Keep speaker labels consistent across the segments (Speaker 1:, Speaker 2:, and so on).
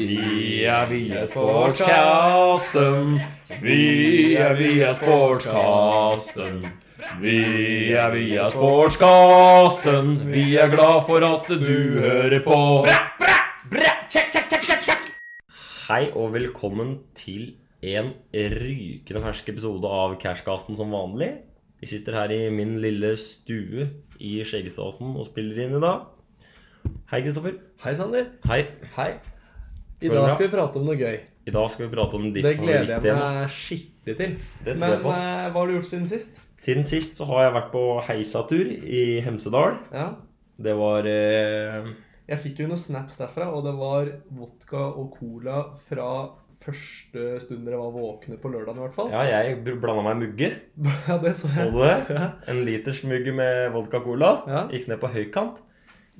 Speaker 1: Vi er via sportskasten. Vi er via sportskasten. Vi er via sportskasten. Vi er glad for at du hører på.
Speaker 2: Hei og velkommen til en rykende fersk episode av Cashcasten som vanlig. Vi sitter her i min lille stue i Skjeggestadåsen og spiller inn i dag. Hei, Kristoffer.
Speaker 3: Hei, Sander.
Speaker 2: Hei.
Speaker 3: Hei. I
Speaker 2: Går det
Speaker 3: dag
Speaker 2: bra?
Speaker 3: skal vi prate om noe gøy.
Speaker 2: I dag skal vi prate om ditt
Speaker 3: Det gleder jeg
Speaker 2: favorittema.
Speaker 3: meg skikkelig til.
Speaker 2: Det
Speaker 3: Men
Speaker 2: tror jeg på.
Speaker 3: eh, hva har du gjort siden sist?
Speaker 2: Siden sist så har jeg vært på heisatur i Hemsedal.
Speaker 3: Ja.
Speaker 2: Det var eh,
Speaker 3: Jeg fikk jo noen snaps derfra, og det var vodka og cola fra første stund dere var våkne på lørdagen i hvert fall.
Speaker 2: Ja, jeg blanda meg i mugger.
Speaker 3: Ja, det så
Speaker 2: Så
Speaker 3: jeg.
Speaker 2: du det? En liters mugge med vodka cola.
Speaker 3: Ja.
Speaker 2: Gikk ned på høykant.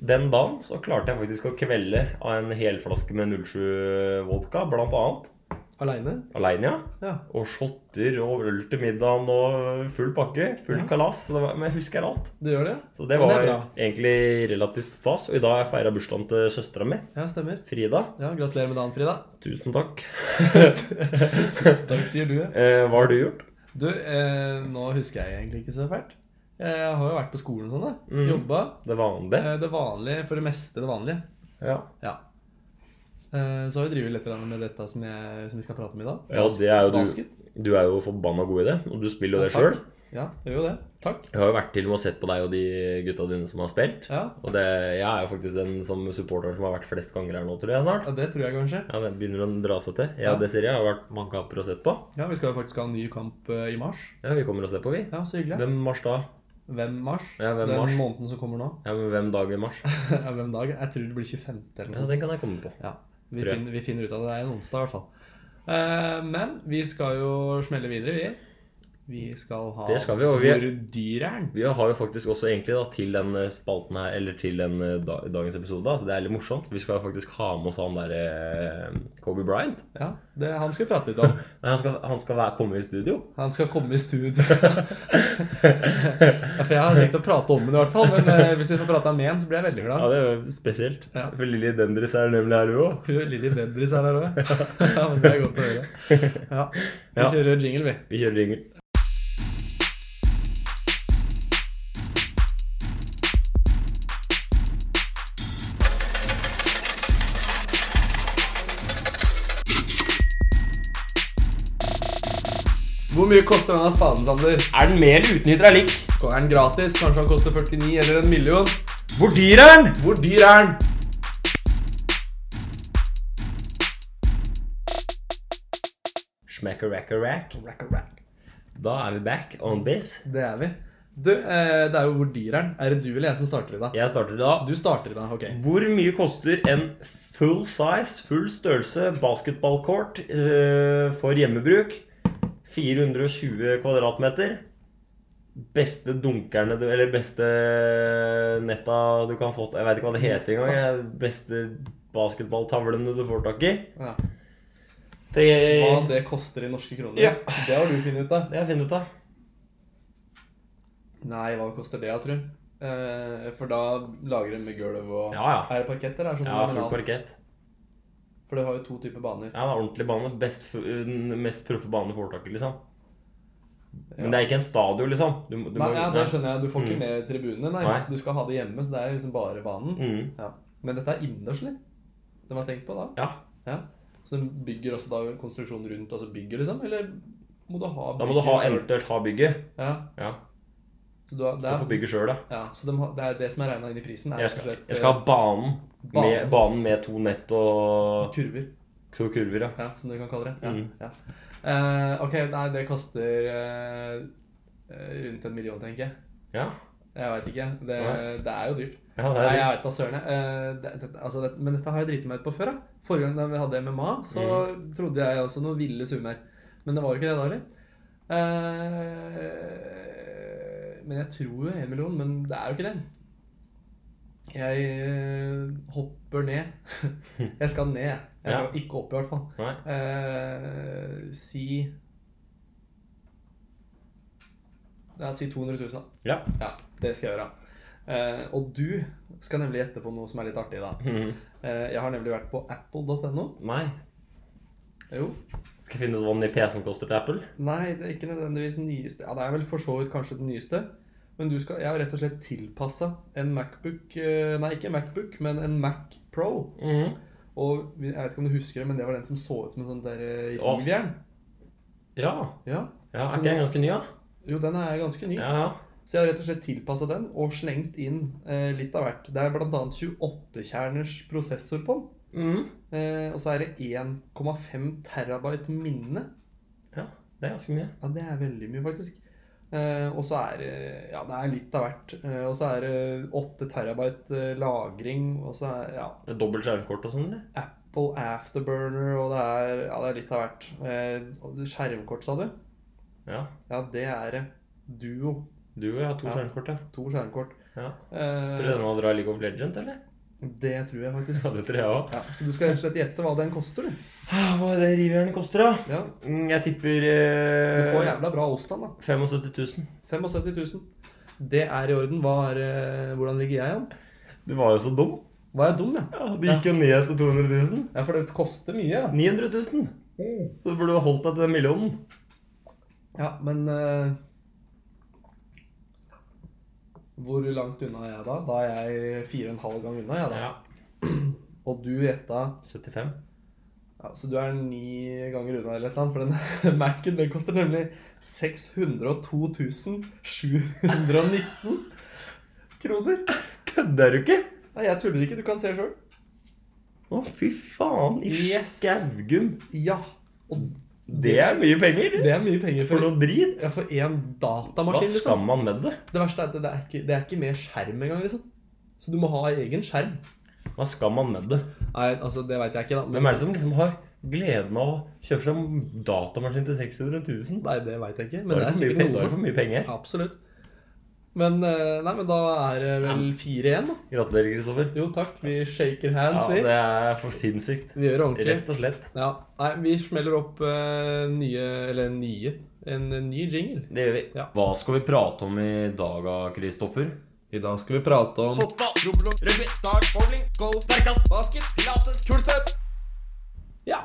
Speaker 2: Den dagen så klarte jeg faktisk å kvelde av en helflaske med 07 vodka, blant annet.
Speaker 3: Aleine?
Speaker 2: Aleine, ja.
Speaker 3: Ja.
Speaker 2: Og shotter og øl til middagen og full pakke. Full kalas. Så det var, men jeg husker alt.
Speaker 3: Du gjør det?
Speaker 2: Så det var
Speaker 3: Men det er bra.
Speaker 2: egentlig relativt stas. Og i dag har jeg feira bursdagen til søstera mi,
Speaker 3: Ja, stemmer.
Speaker 2: Frida.
Speaker 3: Ja, Gratulerer med dagen, Frida.
Speaker 2: Tusen takk.
Speaker 3: Tusen takk, sier du. ja.
Speaker 2: Eh, hva har du gjort?
Speaker 3: Du, eh, nå husker jeg egentlig ikke så fælt. Jeg har jo vært på skolen og sånn, da.
Speaker 2: Mm.
Speaker 3: Jobba.
Speaker 2: Det vanlige?
Speaker 3: Eh, Det vanlige, for det meste det vanlige.
Speaker 2: Ja.
Speaker 3: Ja. Eh, Så har vi drevet litt grann med dette som, jeg, som vi skal prate om i dag.
Speaker 2: ja, det er jo du.
Speaker 3: Basket.
Speaker 2: Du er jo forbanna god i det, og du spiller jo det
Speaker 3: Ja, takk.
Speaker 2: sjøl.
Speaker 3: Ja, gjør jo det. Takk.
Speaker 2: Jeg har jo vært til og med og sett på deg og de gutta dine som har spilt.
Speaker 3: Ja,
Speaker 2: Og det, jeg er jo faktisk den som supporteren som har vært flest ganger her nå, tror jeg snart.
Speaker 3: ja det tror jeg kanskje.
Speaker 2: Ja, det begynner å dra seg til. Jeg og
Speaker 3: Ja.
Speaker 2: Desiree har vært mange kamper og sett på.
Speaker 3: Ja, vi skal jo faktisk ha en ny kamp eh, i mars.
Speaker 2: Ja, vi kommer og ser på, vi.
Speaker 3: Ja, så hyggelig.
Speaker 2: Hvem mars da?
Speaker 3: Hvem mars?
Speaker 2: Ja, hvem
Speaker 3: Den
Speaker 2: mars?
Speaker 3: måneden som kommer nå.
Speaker 2: Ja, men hvem dag i mars?
Speaker 3: Ja, hvem dag? Jeg tror det blir 25. eller
Speaker 2: Ja,
Speaker 3: noe sånt.
Speaker 2: den kan jeg komme på.
Speaker 3: Ja, vi,
Speaker 2: Tror jeg.
Speaker 3: finner, vi finner ut av det. Det er en onsdag i hvert fall. Eh, men vi skal jo smelle videre, vi. Vi skal ha
Speaker 2: Det skal vi, og vi-
Speaker 3: Hvor dyr er den?
Speaker 2: Vi har jo faktisk også egentlig da, til den eh, spalten her, eller til den eh, da, dagens episode, da, så det er litt morsomt. Vi skal faktisk ha med oss han derre eh, Kobe Bryant.
Speaker 3: Ja, det, han skal vi prate litt om.
Speaker 2: Nei, han skal, han skal være, komme i studio.
Speaker 3: Han skal komme i studio. ja, for jeg har tenkt å prate om den i hvert fall, men eh, hvis vi får prata med en, så blir jeg veldig
Speaker 2: Ja,
Speaker 3: glad.
Speaker 2: det er jo spesielt.
Speaker 3: Ja.
Speaker 2: For Lilly Dendris er nemlig her, hun òg.
Speaker 3: Hun er Lilly Bendriss her òg. ja, men det er godt å høre. Ja, Vi
Speaker 2: Ja.
Speaker 3: kjører jingle, vi.
Speaker 2: Vi kjører jingle.
Speaker 3: Hvor mye koster denne spaden, Sander?
Speaker 2: Er den mer eller utnytter er lik?
Speaker 3: Er den gratis? Kanskje han koster 49 eller en million?
Speaker 2: Hvor dyr er den? Hvor dyr er den? Schmackerackerack. Da er vi back on biz.
Speaker 3: Det er vi. Du, eh, det er jo hvor dyr er den? Er det du eller jeg som starter i dag?
Speaker 2: Jeg starter da.
Speaker 3: Du starter i dag, ok.
Speaker 2: Hvor mye koster en full size, full størrelse basketballcourt eh, for hjemmebruk? 420 kvadratmeter. Beste dunkerne du Eller beste netta du kan få Jeg veit ikke hva det heter engang. jeg. Beste basketballtavlene du får tak i.
Speaker 3: Ja.
Speaker 2: Det
Speaker 3: Hva det koster i norske kroner?
Speaker 2: Ja.
Speaker 3: Det har du funnet ut av.
Speaker 2: det har jeg funnet ut av.
Speaker 3: Nei, hva koster det, jeg tror? Eh, for da lager de med gulv og
Speaker 2: Ja, ja.
Speaker 3: Er det parkett, eller er det sånn
Speaker 2: Ja, full
Speaker 3: laminat?
Speaker 2: parkett.
Speaker 3: For det har jo to typer baner.
Speaker 2: Ja, det er ordentlig bane. Best, fu- den mest proffe bane du får tak i, liksom. Men det er ikke en stadion, liksom. Du, må- du
Speaker 3: Nei,
Speaker 2: må-
Speaker 3: ja,
Speaker 2: nei.
Speaker 3: det skjønner jeg. Du får ikke
Speaker 2: Mm.
Speaker 3: med tribunene, nei.
Speaker 2: Nei.
Speaker 3: Du skal ha det hjemme, så det er liksom bare banen.
Speaker 2: Mm.
Speaker 3: Ja. Men dette er innendørs, eller? De har tenkt på da.
Speaker 2: Ja.
Speaker 3: Ja. Så de bygger også da en konstruksjon rundt, altså bygger, liksom? Eller må du ha
Speaker 2: Da må du ha eventuelt ha bygget.
Speaker 3: Ja.
Speaker 2: Ja,
Speaker 3: Så du har,
Speaker 2: Du
Speaker 3: det
Speaker 2: får
Speaker 3: er,
Speaker 2: bygge sjøl, da.
Speaker 3: ja, så de har, det er det som er regna inn i prisen. Er
Speaker 2: Jeg
Speaker 3: rett og
Speaker 2: skal,
Speaker 3: slett, eh,
Speaker 2: jeg skal ha banen.
Speaker 3: Banen.
Speaker 2: Med, banen med to nett
Speaker 3: eh,
Speaker 2: og
Speaker 3: kurver.
Speaker 2: to kurver, ja.
Speaker 3: Ja, som du kan kalle det. Ja,
Speaker 2: Mm.
Speaker 3: ja. Eh, ok, nei, det koster eh, eh, rundt en million, tenker jeg.
Speaker 2: Ja,
Speaker 3: Jeg veit ikke. Det,
Speaker 2: Nei.
Speaker 3: det er jo dyrt.
Speaker 2: ja det
Speaker 3: Nei,
Speaker 2: er
Speaker 3: jeg vet da søren. jeg. Eh, det, det, altså, det, men dette har jeg driti meg ut på før. Da. Forrige gang da vi hadde MMA, så
Speaker 2: Mm.
Speaker 3: trodde jeg også noen ville summer. Men det var jo ikke det da heller. Eh, men jeg tror jo en million, men det er jo ikke det. Jeg eh, hopper ned. jeg skal ned. jeg. Jeg skal ikke opp, i hvert fall.
Speaker 2: Nei.
Speaker 3: Eh, si Ja, si 200 000, da.
Speaker 2: Ja.
Speaker 3: Ja, det skal jeg gjøre. Eh, og du skal nemlig gjette på noe som er litt artig, da.
Speaker 2: Mhm.
Speaker 3: Eh, jeg har nemlig vært på apple.no.
Speaker 2: Nei.
Speaker 3: Jo.
Speaker 2: Skal jeg finne ut hva den nye PC-en koster til Apple?
Speaker 3: Nei, det er ikke nødvendigvis den nyeste. Ja, det er vel for så vidt kanskje den nyeste. Men du skal, jeg har rett og slett tilpassa en Macbook eh, Nei, ikke Macbook, men en Mac Pro.
Speaker 2: Mhm.
Speaker 3: Og vi- jeg vet ikke om du husker det, men det var den som så ut som en sånn der eh,
Speaker 2: Å.
Speaker 3: rivjern.
Speaker 2: Ja.
Speaker 3: Ja.
Speaker 2: ja. Er
Speaker 3: Så
Speaker 2: ikke den ganske ny, da?
Speaker 3: Jo, den er ganske ny.
Speaker 2: Ja, ja.
Speaker 3: Så jeg har rett og slett tilpassa den og slengt inn eh, litt av hvert. Det er bl.a. 28-kjerners prosessor på den.
Speaker 2: Mhm.
Speaker 3: Eh, og så er det 1,5 terabyte minne.
Speaker 2: ja. Det er ganske mye.
Speaker 3: Ja, det er veldig mye, faktisk. Eh, og så er det Ja, det er litt av hvert. Eh, og så er det 8 terabyte eh, lagring, og så er ja,
Speaker 2: Det er Dobbelt skjermkort og sånn, eller?
Speaker 3: Apple Afterburner, og det er Ja, det er litt av hvert. Eh, og det- skjermkort, sa du?
Speaker 2: Ja.
Speaker 3: Ja, det er det. Duo.
Speaker 2: Du og jeg har to
Speaker 3: Ja.
Speaker 2: skjermkort, ja.
Speaker 3: To skjermkort.
Speaker 2: ja. Tror du
Speaker 3: Eh,
Speaker 2: den var dra League of Legends, eller?
Speaker 3: det tror jeg faktisk.
Speaker 2: Ja, det tror jeg òg.
Speaker 3: Ja, så du skal rett og slett gjette hva den koster, du.
Speaker 2: Hva er det rivjernet koster, da?
Speaker 3: Ja,
Speaker 2: Mm, Jeg tipper
Speaker 3: du
Speaker 2: eh,
Speaker 3: får jævla bra Osland, da.
Speaker 2: 75 000.
Speaker 3: 75 000. Det er i orden. Hva er, eh, hvordan ligger jeg an?
Speaker 2: Du var jo så dum.
Speaker 3: Var jeg dum, ja?
Speaker 2: Ja, Det gikk jo ned til 200 000.
Speaker 3: Ja, for det koster mye. Ja,
Speaker 2: 900 000. Så du burde du holdt deg til den millionen.
Speaker 3: ja men eh, Hvor langt unna er jeg da? Da er jeg fire og en halv gang unna, jeg da. Og du gjetta
Speaker 2: 75.
Speaker 3: ja, Så du er ni ganger unna eller et eller annet, for den Mac-en den koster nemlig 602 719 kroner.
Speaker 2: Kødder du ikke?
Speaker 3: Nei, jeg tuller ikke. Du kan se sjøl.
Speaker 2: Å, fy faen. I
Speaker 3: Yes.
Speaker 2: skaugum.
Speaker 3: Ja. Og
Speaker 2: Det er mye penger.
Speaker 3: det er mye penger
Speaker 2: For
Speaker 3: for,
Speaker 2: noe drit.
Speaker 3: ja, for én
Speaker 2: Hva
Speaker 3: datamaskin,
Speaker 2: skal
Speaker 3: liksom.
Speaker 2: man med det?
Speaker 3: Det verste er at det er ikke, det er ikke med skjerm engang, liksom. Så du må ha egen skjerm.
Speaker 2: Hva skal man med det?
Speaker 3: Nei, altså, det veit jeg ikke, da.
Speaker 2: Hvem er det som liksom har gleden av å kjøpe seg en datamaskin til 600 000?
Speaker 3: Nei, det veit jeg ikke.
Speaker 2: Da
Speaker 3: Men
Speaker 2: er
Speaker 3: det
Speaker 2: det
Speaker 3: er
Speaker 2: for mye penger. Da er det
Speaker 3: sikkert noe.
Speaker 2: for mye penger.
Speaker 3: Absolutt. Men, eh, nei, men da er det vel fire igjen, da.
Speaker 2: Gratulerer, Kristoffer.
Speaker 3: Jo, takk. Vi shaker hands,
Speaker 2: Ja, det er for sinnssykt.
Speaker 3: vi. Vi gjør det ordentlig.
Speaker 2: Rett og slett.
Speaker 3: Ja. Nei, vi smeller opp eh, nye Eller nye. En, en ny jingle.
Speaker 2: Det gjør vi.
Speaker 3: Ja.
Speaker 2: Hva skal vi prate om i dag, Kristoffer?
Speaker 3: I dag skal vi prate om Ja.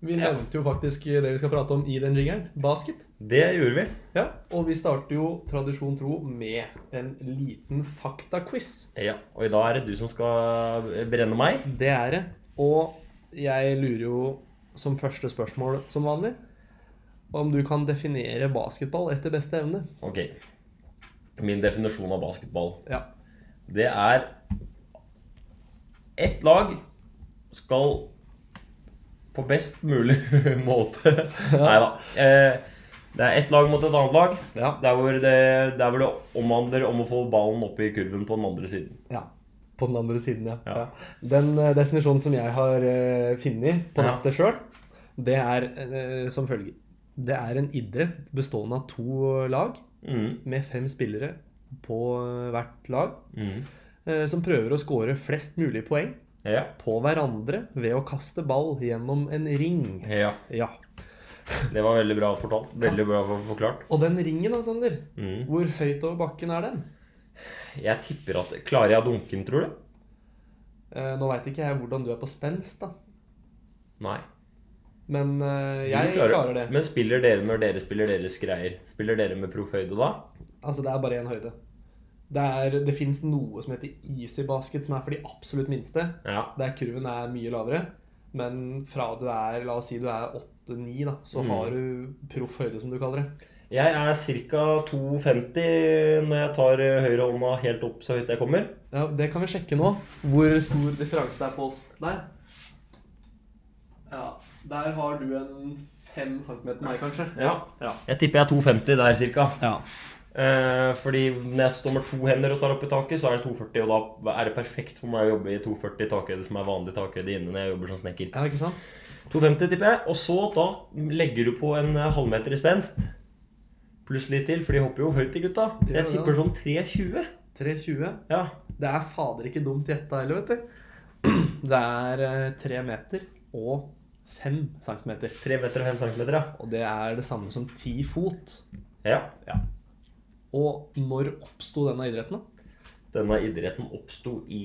Speaker 3: Vi
Speaker 2: Ja.
Speaker 3: nevnte jo faktisk det vi skal prate om i den jingeren. Basket.
Speaker 2: Det gjorde vi.
Speaker 3: Ja. Og vi starter jo tradisjon tro med en liten faktaquiz.
Speaker 2: Ja, Og i dag er det du som skal brenne meg.
Speaker 3: Det er det. Og jeg lurer jo som første spørsmål, som vanlig, om du kan definere basketball etter beste evne.
Speaker 2: Ok. Min definisjon av basketball,
Speaker 3: Ja.
Speaker 2: det er Ett lag skal på best mulig måte Nei da. Eh, Det er ett lag mot et annet lag.
Speaker 3: Ja.
Speaker 2: Der hvor det, der hvor det omhandler om å få ballen opp i kurven på den andre siden.
Speaker 3: ja. På den andre siden, ja.
Speaker 2: Ja.
Speaker 3: ja. Den eh, definisjonen som jeg har eh, funnet på
Speaker 2: Ja.
Speaker 3: nettet sjøl, det er eh, som følger. Det er en idrett bestående av to lag
Speaker 2: Mm.
Speaker 3: med fem spillere på eh, hvert lag,
Speaker 2: Mm.
Speaker 3: eh, som prøver å score flest mulig poeng
Speaker 2: Ja.
Speaker 3: på hverandre ved å kaste ball gjennom en ring.
Speaker 2: ja.
Speaker 3: Ja.
Speaker 2: Det var veldig bra fortalt. Veldig bra for- forklart.
Speaker 3: Og den ringen da, Sander,
Speaker 2: Mm.
Speaker 3: hvor høyt over bakken er den?
Speaker 2: Jeg tipper at Klarer jeg dunken, tror du?
Speaker 3: Eh, nå veit ikke jeg hvordan du er på spenst, da.
Speaker 2: Nei.
Speaker 3: Men eh,
Speaker 2: Du
Speaker 3: jeg klarer. det.
Speaker 2: Men spiller dere når dere spiller deres greier? Spiller dere med proffhøyde da?
Speaker 3: Altså, det er bare én høyde. Det, er, det fins noe som heter easy basket, som er for de absolutt minste.
Speaker 2: Ja.
Speaker 3: Der kurven er mye lavere. Men fra du er, la oss si du er 8-9, da, så
Speaker 2: Mm.
Speaker 3: har du proff høyde, som du kaller det.
Speaker 2: Jeg er ca. 2,50 når jeg tar eh, høyre hånda helt opp så høyt jeg kommer.
Speaker 3: Ja, Det kan vi sjekke nå. Hvor stor differanse det er på oss der. Ja, der har du en 5 cm meg, kanskje.
Speaker 2: Ja.
Speaker 3: Ja.
Speaker 2: Jeg tipper jeg er 2,50 der ca.
Speaker 3: Ja.
Speaker 2: Eh, fordi når jeg står med to hender og tar opp i taket, så er det 2,40. Og da er det perfekt for meg å jobbe i 2,40 takhøyde, som er vanlig takhøyde inne når jeg jobber som snekker.
Speaker 3: Ja, ikke sant?
Speaker 2: 2,50 tipper jeg. Og så da legger du på en eh, halvmeter i spenst. Pluss litt til, for de hopper jo høyt, de gutta. Så jeg
Speaker 3: Ja, ja.
Speaker 2: tipper sånn 3,20.
Speaker 3: 3,20.
Speaker 2: Ja.
Speaker 3: Det er fader ikke dumt gjetta heller, vet du. Det er eh, 3 meter og 5 cm.
Speaker 2: 3 meter og 5 centimeter,
Speaker 3: Og det er det samme som 10 fot.
Speaker 2: ja. ja.
Speaker 3: Og når oppsto denne idretten? da?
Speaker 2: denne idretten oppsto i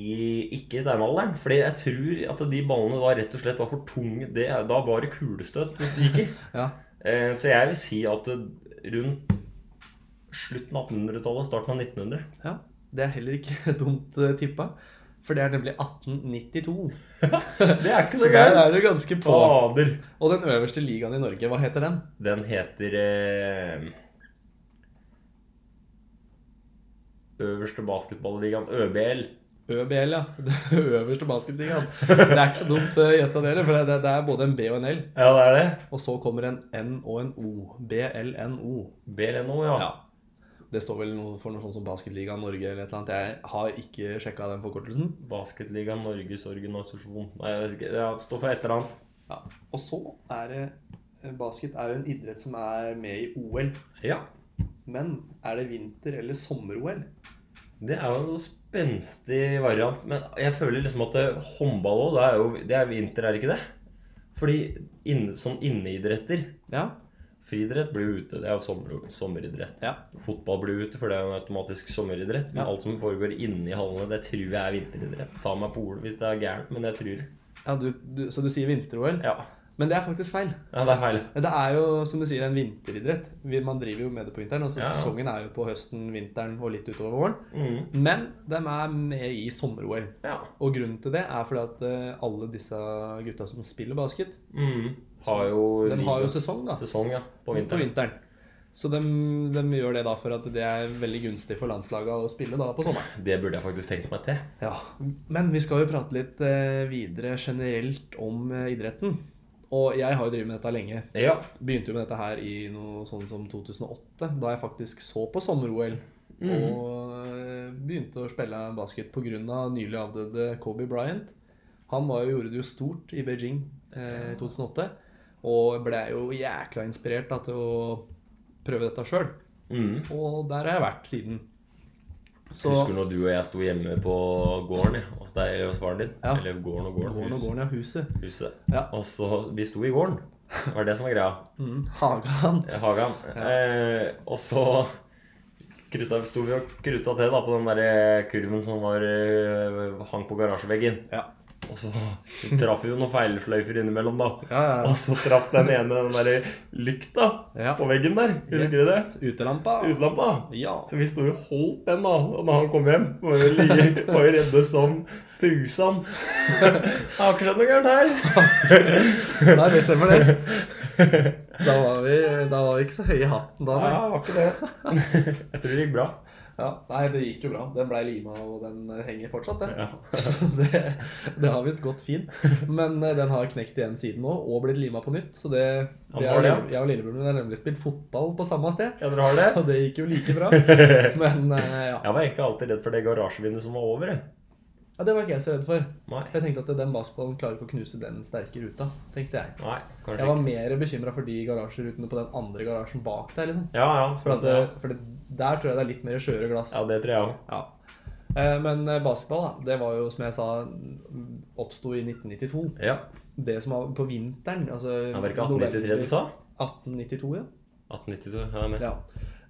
Speaker 2: ikke i steinalderen. Fordi jeg tror at de ballene var rett og slett var for tunge. Det, da var det kulestøt det gikk i.
Speaker 3: Ja.
Speaker 2: Eh, Så jeg vil si at eh, rundt slutten av 1800-tallet, starten av 1900
Speaker 3: ja. Det er heller ikke dumt eh, tippa. For det er nemlig 1892.
Speaker 2: Det er ikke
Speaker 3: Så der er du ganske på.
Speaker 2: Fader.
Speaker 3: Og den øverste ligaen i Norge, hva heter den?
Speaker 2: Den heter eh, Øverste basketballligaen, ØBL.
Speaker 3: ØBL, ja. Den øverste basketligaen. Det er ikke så dumt eh, gjetta, det heller. For det, det er både en B og en L.
Speaker 2: Ja, det er det.
Speaker 3: Og så kommer en N og en O. BLNO.
Speaker 2: BLNO, ja.
Speaker 3: Ja. Det står vel noe for noe sånt som Basketligaen Norge eller et eller annet. Jeg har ikke sjekka den forkortelsen.
Speaker 2: Basketligaen Norges organisasjon. Nei, jeg vet ikke. Ja, det står for et eller annet.
Speaker 3: Ja. Og så er det eh, Basket er jo en idrett som er med i OL.
Speaker 2: Ja.
Speaker 3: Men er det vinter- eller sommer-OL?
Speaker 2: Det er jo en spenstig variant. Men jeg føler liksom at eh, håndball òg, det er jo det er vinter, er det ikke det? Fordi inne, sånn inneidretter
Speaker 3: Ja.
Speaker 2: Friidrett blir jo ute. Det er jo sommer, sommeridrett.
Speaker 3: ja.
Speaker 2: Fotball blir ute, for det er jo en automatisk sommeridrett. Men
Speaker 3: Ja.
Speaker 2: alt som foregår inni hallene, det tror jeg er vinteridrett. Ta meg på ordet hvis det er gærent, men jeg tror
Speaker 3: ja du, du, så du sier vinter-OL?
Speaker 2: Ja.
Speaker 3: Men det er faktisk feil.
Speaker 2: ja det er feil.
Speaker 3: Det er jo, som du sier, en vinteridrett. Vi- Man driver jo med det på vinteren. Altså,
Speaker 2: Ja, ja.
Speaker 3: Sesongen er jo på høsten, vinteren og litt utover våren.
Speaker 2: Mm.
Speaker 3: Men de er med i sommer-OL.
Speaker 2: Ja.
Speaker 3: Og grunnen til det er fordi at eh, alle disse gutta som spiller basket,
Speaker 2: Mm. Har jo
Speaker 3: de har
Speaker 2: livet-
Speaker 3: jo sesong, da.
Speaker 2: sesong, ja. På
Speaker 3: På
Speaker 2: vinteren.
Speaker 3: vinteren. Så de, gjør det da for at det er veldig gunstig for landslaget å spille da på sommeren.
Speaker 2: Det burde jeg faktisk tenkt meg til.
Speaker 3: Ja, Men vi skal jo prate litt eh, videre generelt om eh, idretten. Og jeg har jo drevet med dette lenge.
Speaker 2: Ja.
Speaker 3: Begynte jo med dette her i noe sånn som 2008, da jeg faktisk så på sommer-OL.
Speaker 2: Mm.
Speaker 3: Og eh, begynte å spille basket pga. nylig avdøde Kobe Bryant. Han var jo, gjorde det jo stort i Beijing eh, i 2008. Og ble jo jækla inspirert da, til å prøve dette sjøl.
Speaker 2: Mm.
Speaker 3: Og der har jeg vært siden. Så
Speaker 2: Husker når du og jeg sto hjemme på gården ja, hos deg eller hos faren din?
Speaker 3: Ja.
Speaker 2: Eller gården og gården.
Speaker 3: gården og
Speaker 2: hus-
Speaker 3: gården, ja. Huset.
Speaker 2: Huset.
Speaker 3: Ja.
Speaker 2: Og så Vi sto i gården. Det var det som var greia.
Speaker 3: Mm, Hagan.
Speaker 2: Hagan. Eh, og så krutta, sto vi og krutta til da, på den der kurven som var, eh, hang på garasjeveggen.
Speaker 3: Ja.
Speaker 2: Og så traff vi jo noen feilsløyfer innimellom, da.
Speaker 3: Ja, ja,
Speaker 2: Og så traff den ene den derre lykta
Speaker 3: Ja.
Speaker 2: på veggen der.
Speaker 3: ja.
Speaker 2: Husker du det?
Speaker 3: Yes, Utelampa.
Speaker 2: Utelampa.
Speaker 3: Ja.
Speaker 2: Så vi sto jo og holdt den, da. Og når han kom hjem, var jo, li- var jo redde som tusan. Det har ikke skjedd noe gærent her.
Speaker 3: Nei, det stemmer det. Da var vi, da var vi ikke så høye i hatten da.
Speaker 2: Ja,
Speaker 3: nei.
Speaker 2: var ikke det. Jeg tror det gikk bra.
Speaker 3: Ja. Nei, det gikk jo bra. Den blei lima, og den eh, henger fortsatt, den.
Speaker 2: Ja.
Speaker 3: Så det, det har visst gått fint. Men eh, den har knekt igjen siden nå, og blitt lima på nytt. Så det
Speaker 2: Han
Speaker 3: Jeg
Speaker 2: har
Speaker 3: og
Speaker 2: det,
Speaker 3: lille- jeg og lillebroren min har nemlig spilt fotball på samme sted,
Speaker 2: Ja, dere har det?
Speaker 3: og det gikk jo like bra. Men eh, ja.
Speaker 2: Jeg var egentlig alltid redd for det garasjevinduet som var over. jeg.
Speaker 3: Ja, Det var ikke jeg så redd for.
Speaker 2: Nei.
Speaker 3: For Jeg tenkte at den basketballen klarer ikke å knuse den sterke ruta. tenkte Jeg
Speaker 2: Nei, kanskje
Speaker 3: Jeg var
Speaker 2: ikke.
Speaker 3: mer bekymra for de garasjerutene på den andre garasjen bak der. liksom
Speaker 2: Ja, ja.
Speaker 3: For,
Speaker 2: Så
Speaker 3: at,
Speaker 2: det,
Speaker 3: eh, for det, der tror jeg det er litt mer skjøre glass.
Speaker 2: ja, det tror jeg òg.
Speaker 3: Ja. Eh, Men eh, basketball, da, det var jo som jeg sa, oppsto i 1992.
Speaker 2: Ja.
Speaker 3: Det som var på vinteren altså
Speaker 2: Det var ikke 1893 du sa?
Speaker 3: 1892, ja.
Speaker 2: 1892, ja, men.
Speaker 3: ja.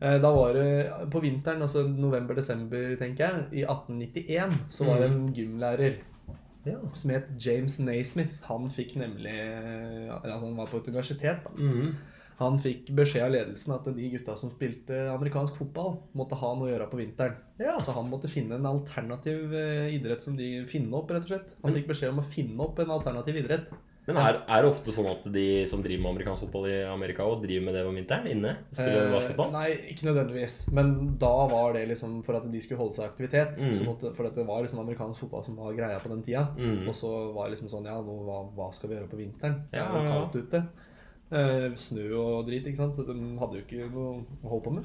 Speaker 3: Eh, Da var det på vinteren, altså november-desember, tenker jeg, i 1891, så var det en
Speaker 2: Mm.
Speaker 3: gymlærer
Speaker 2: Ja.
Speaker 3: som het James Naismith. Han fikk nemlig Altså, han var på et universitet, da.
Speaker 2: Mhm.
Speaker 3: Han fikk beskjed av ledelsen at de gutta som spilte amerikansk fotball, måtte ha noe å gjøre på vinteren.
Speaker 2: Ja.
Speaker 3: Så Altså, han måtte finne en alternativ eh, idrett som de finne opp, rett og slett. Han fikk beskjed om å finne opp en alternativ idrett.
Speaker 2: Men er, er det ofte sånn at de som driver med amerikansk fotball i Amerika, også driver med det om vinteren inne? Spiller
Speaker 3: Eh,
Speaker 2: basketball?
Speaker 3: nei, ikke nødvendigvis. Men da var det liksom for at de skulle holde seg i aktivitet.
Speaker 2: Mm.
Speaker 3: Så måtte, for at det var liksom amerikansk fotball som var greia på den tida.
Speaker 2: Mm.
Speaker 3: Og så var det liksom sånn Ja, nå, hva, hva skal vi gjøre på vinteren? Det
Speaker 2: Ja,
Speaker 3: er
Speaker 2: ja,
Speaker 3: jo
Speaker 2: ja.
Speaker 3: kaldt ute. Eh, snø og drit, ikke sant. Så de hadde jo ikke noe å holde på med.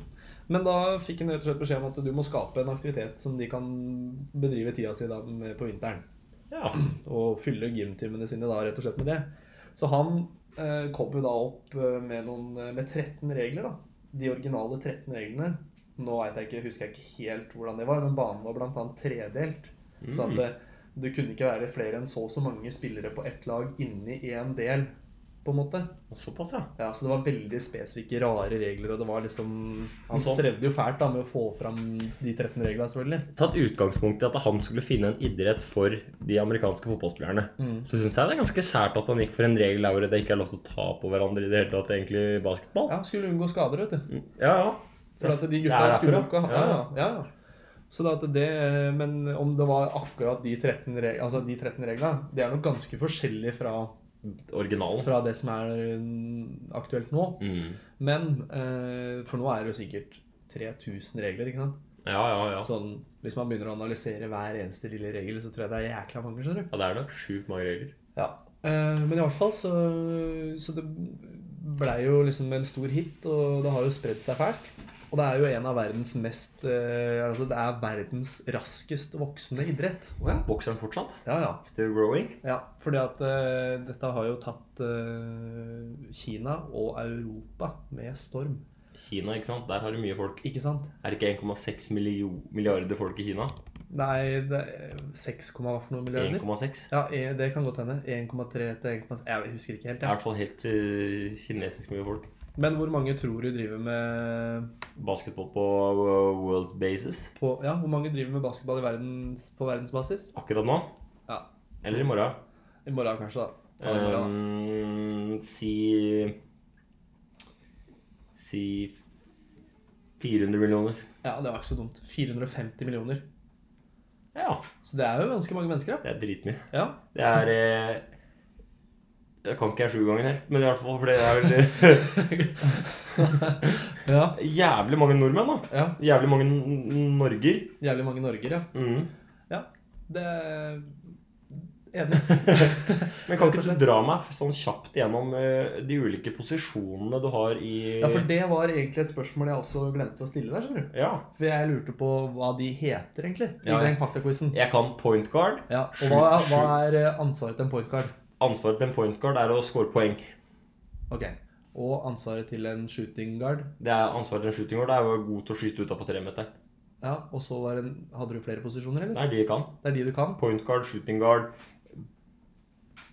Speaker 3: Men da fikk han rett og slett beskjed om at du må skape en aktivitet som de kan bedrive tida si da med på vinteren.
Speaker 2: Ja.
Speaker 3: og fylle gymtimene sine da rett og slett med det. Så han eh, kom jo da opp eh, med, noen, med 13 regler, da. De originale 13 reglene. Nå vet jeg ikke, husker jeg ikke helt hvordan det var, men banen var blant annet tredelt. Så at eh, du kunne ikke være flere enn så og så mange spillere på ett lag inni én del på en måte.
Speaker 2: Såpass, ja.
Speaker 3: Ja, Så det var veldig spesifikke, rare regler, og det var liksom Han
Speaker 2: Sånn.
Speaker 3: strevde jo fælt da med å få fram de 13 reglene, selvfølgelig.
Speaker 2: Tatt utgangspunkt i at han skulle finne en idrett for de amerikanske fotballspillerne,
Speaker 3: Mm.
Speaker 2: så syns jeg det er ganske sært at han gikk for en regel der hvor det ikke er lov til å ta på hverandre i det hele tatt, egentlig, i basketball.
Speaker 3: Ja, Skulle unngå skader, vet du.
Speaker 2: Ja, ja.
Speaker 3: For at de
Speaker 2: Det
Speaker 3: gutta
Speaker 2: er
Speaker 3: skulle
Speaker 2: derfra.
Speaker 3: ikke ha ja, ja, ja, ja. Så det at det Men om det var akkurat de 13, reg altså de 13 reglene, det er nok ganske forskjellig fra,
Speaker 2: Originalen.
Speaker 3: fra det som er eh, aktuelt nå.
Speaker 2: Mm.
Speaker 3: Men eh, For nå er det jo sikkert 3000 regler, ikke sant.
Speaker 2: Ja, ja, ja.
Speaker 3: Sånn, hvis man begynner å analysere hver eneste lille regel, så tror jeg det er jækla mange, skjønner du.
Speaker 2: ja det er nok sjukt mange regler.
Speaker 3: Ja. Eh, men i hvert fall så, så det blei jo liksom en stor hit, og det har jo spredd seg fælt. Og det er jo en av verdens mest eh, Altså det er verdens raskest voksende idrett.
Speaker 2: Å ja, bokseren fortsatt?
Speaker 3: Ja, ja.
Speaker 2: Still growing?
Speaker 3: ja fordi at eh, dette har jo tatt eh, Kina og Europa med storm.
Speaker 2: Kina, ikke sant? Der har du mye folk.
Speaker 3: Ikke sant?
Speaker 2: Er det ikke 1,6 millio- milliarder folk i Kina?
Speaker 3: Nei, det er 6, hva for noen milliarder?
Speaker 2: 1,6?
Speaker 3: Ja, eh, det kan godt hende. 1,3 til 1,6 Jeg husker ikke helt.
Speaker 2: Det er i
Speaker 3: Ja.
Speaker 2: hvert fall helt eh, kinesisk mye folk.
Speaker 3: Men hvor mange tror du driver med
Speaker 2: Basketball på eh, world basis
Speaker 3: på, ja, hvor mange driver med basketball i verdens, på verdensbasis?
Speaker 2: akkurat nå.
Speaker 3: Ja,
Speaker 2: Eller i morgen.
Speaker 3: I morgen kanskje, da. Ta det i morgen, da.
Speaker 2: Um, si Si 400 millioner.
Speaker 3: Ja, det var ikke så dumt. 450 millioner.
Speaker 2: Ja,
Speaker 3: Så det er jo ganske mange mennesker, da.
Speaker 2: det er dritmye.
Speaker 3: Ja.
Speaker 2: Det er eh, Jeg kan ikke jeg sju ganger helt, men i hvert fall for det er vel
Speaker 3: ja.
Speaker 2: Jævlig mange nordmenn, da.
Speaker 3: ja.
Speaker 2: Jævlig mange n- n- norger.
Speaker 3: Jævlig mange Norger, ja.
Speaker 2: Mhm.
Speaker 3: Ja. Det er Enig.
Speaker 2: Men kan ikke du dra meg sånn kjapt gjennom eh, de ulike posisjonene du har i
Speaker 3: Ja, for det var egentlig et spørsmål jeg også glemte å stille deg, skjønner du.
Speaker 2: Ja.
Speaker 3: For jeg lurte på hva de heter, egentlig, i
Speaker 2: Ja, ja.
Speaker 3: den faktaquizen.
Speaker 2: Jeg kan point guard.
Speaker 3: Ja. Og hva, hva er eh, ansvaret til en pointcard?
Speaker 2: Ansvaret til en point guard er å score poeng.
Speaker 3: Ok. Og ansvaret til en shooting guard?
Speaker 2: Det er ansvaret til en shooting guard det er å være god til å skyte utafor tremeteren.
Speaker 3: Ja. Og så var en Hadde du flere posisjoner, eller?
Speaker 2: Det er de jeg kan.
Speaker 3: Det er de du kan?
Speaker 2: Point guard, shooting guard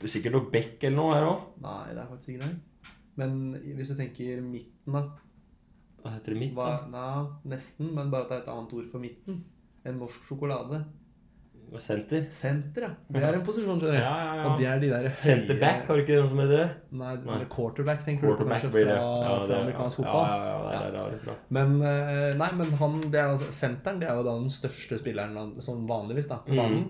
Speaker 2: Sikkert noe back eller noe her òg.
Speaker 3: Nei, det er faktisk ikke det. Men hvis du tenker midten, da
Speaker 2: Hva heter det mitt?
Speaker 3: hva,
Speaker 2: da?
Speaker 3: na, Nesten, men bare at det er et annet ord for midten.
Speaker 2: Mm.
Speaker 3: En norsk sjokolade.
Speaker 2: Senter.
Speaker 3: Senter, ja. Det er en posisjon, skjønner
Speaker 2: Ja,
Speaker 3: jeg.
Speaker 2: ja,
Speaker 3: Og det
Speaker 2: ja.
Speaker 3: er de der høye
Speaker 2: Centerback, har du ikke den som heter det?
Speaker 3: Nei,
Speaker 2: Nei.
Speaker 3: quarterback, tenker du på
Speaker 2: Quarterback
Speaker 3: kanskje,
Speaker 2: blir
Speaker 3: fra,
Speaker 2: det. Ja, det
Speaker 3: fra
Speaker 2: er-
Speaker 3: amerikansk
Speaker 2: ja,
Speaker 3: fotball.
Speaker 2: Ja, ja, det er der er det fra.
Speaker 3: Men eh, nei, men han, det er jo senteren det er jo da den største spilleren han- sånn vanligvis da, på
Speaker 2: Mm.
Speaker 3: banen.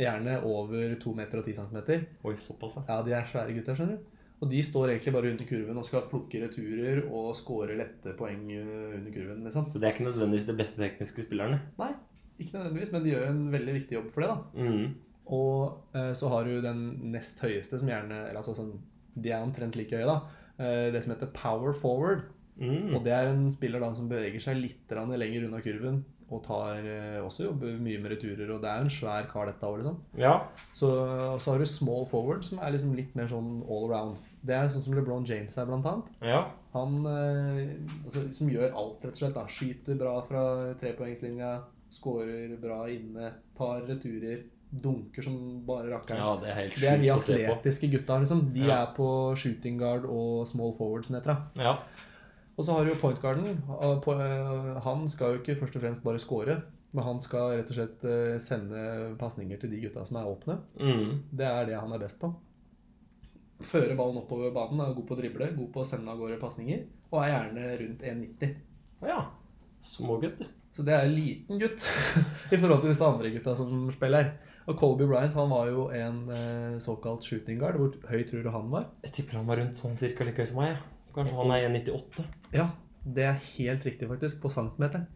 Speaker 3: Gjerne over 2 meter og 10 centimeter.
Speaker 2: Oi, såpass, ja.
Speaker 3: Ja, de er svære gutter, skjønner du. Og de står egentlig bare rundt i kurven og skal plukke returer og score lette poeng eh, under kurven. liksom.
Speaker 2: Så det er ikke nødvendigvis de beste tekniske spillerne.
Speaker 3: Nei, ikke nødvendigvis, men de gjør en veldig viktig jobb for det. da.
Speaker 2: Mhm.
Speaker 3: Og eh, så har du den nest høyeste, som gjerne eller altså sånn, De er omtrent like høye, da. Eh, det som heter power forward.
Speaker 2: Mhm.
Speaker 3: Og det er en spiller da som beveger seg litt grann lenger unna kurven. Og tar eh, også jobber mye med returer, og det er jo en svær kar, dette òg, liksom.
Speaker 2: Ja.
Speaker 3: Så, og så har du small forward, som er liksom litt mer sånn all around. Det er sånn som LeBron James er, blant annet.
Speaker 2: Ja.
Speaker 3: Han eh, altså, som gjør alt, rett og slett. Da. Skyter bra fra trepoengslinja, skårer bra inne, tar returer, dunker som bare rakkeren.
Speaker 2: det er helt
Speaker 3: det er de atletiske gutta. Liksom. De
Speaker 2: Ja.
Speaker 3: er på shooting guard og small forward, som det heter. da.
Speaker 2: Ja.
Speaker 3: Og så har du jo pointgarden. eh, Han skal jo ikke først og fremst bare score, men han skal rett og slett eh, sende pasninger til de gutta som er åpne.
Speaker 2: Mhm.
Speaker 3: Det er det han er best på. Føre ballen oppover banen, er god på å drible, god på å sende av gårde pasninger, og er gjerne rundt 1,90.
Speaker 2: ja. Små gutter.
Speaker 3: Så det er en liten gutt i forhold til disse andre gutta som spiller. Og Colby Bryant han var jo en eh, såkalt shooting guard. Hvor høy tror du han var?
Speaker 2: Jeg tipper han var rundt sånn cirka like høy som meg. Ja. Kanskje han er 1,98.
Speaker 3: Ja, det er helt riktig, faktisk. På centimeteren.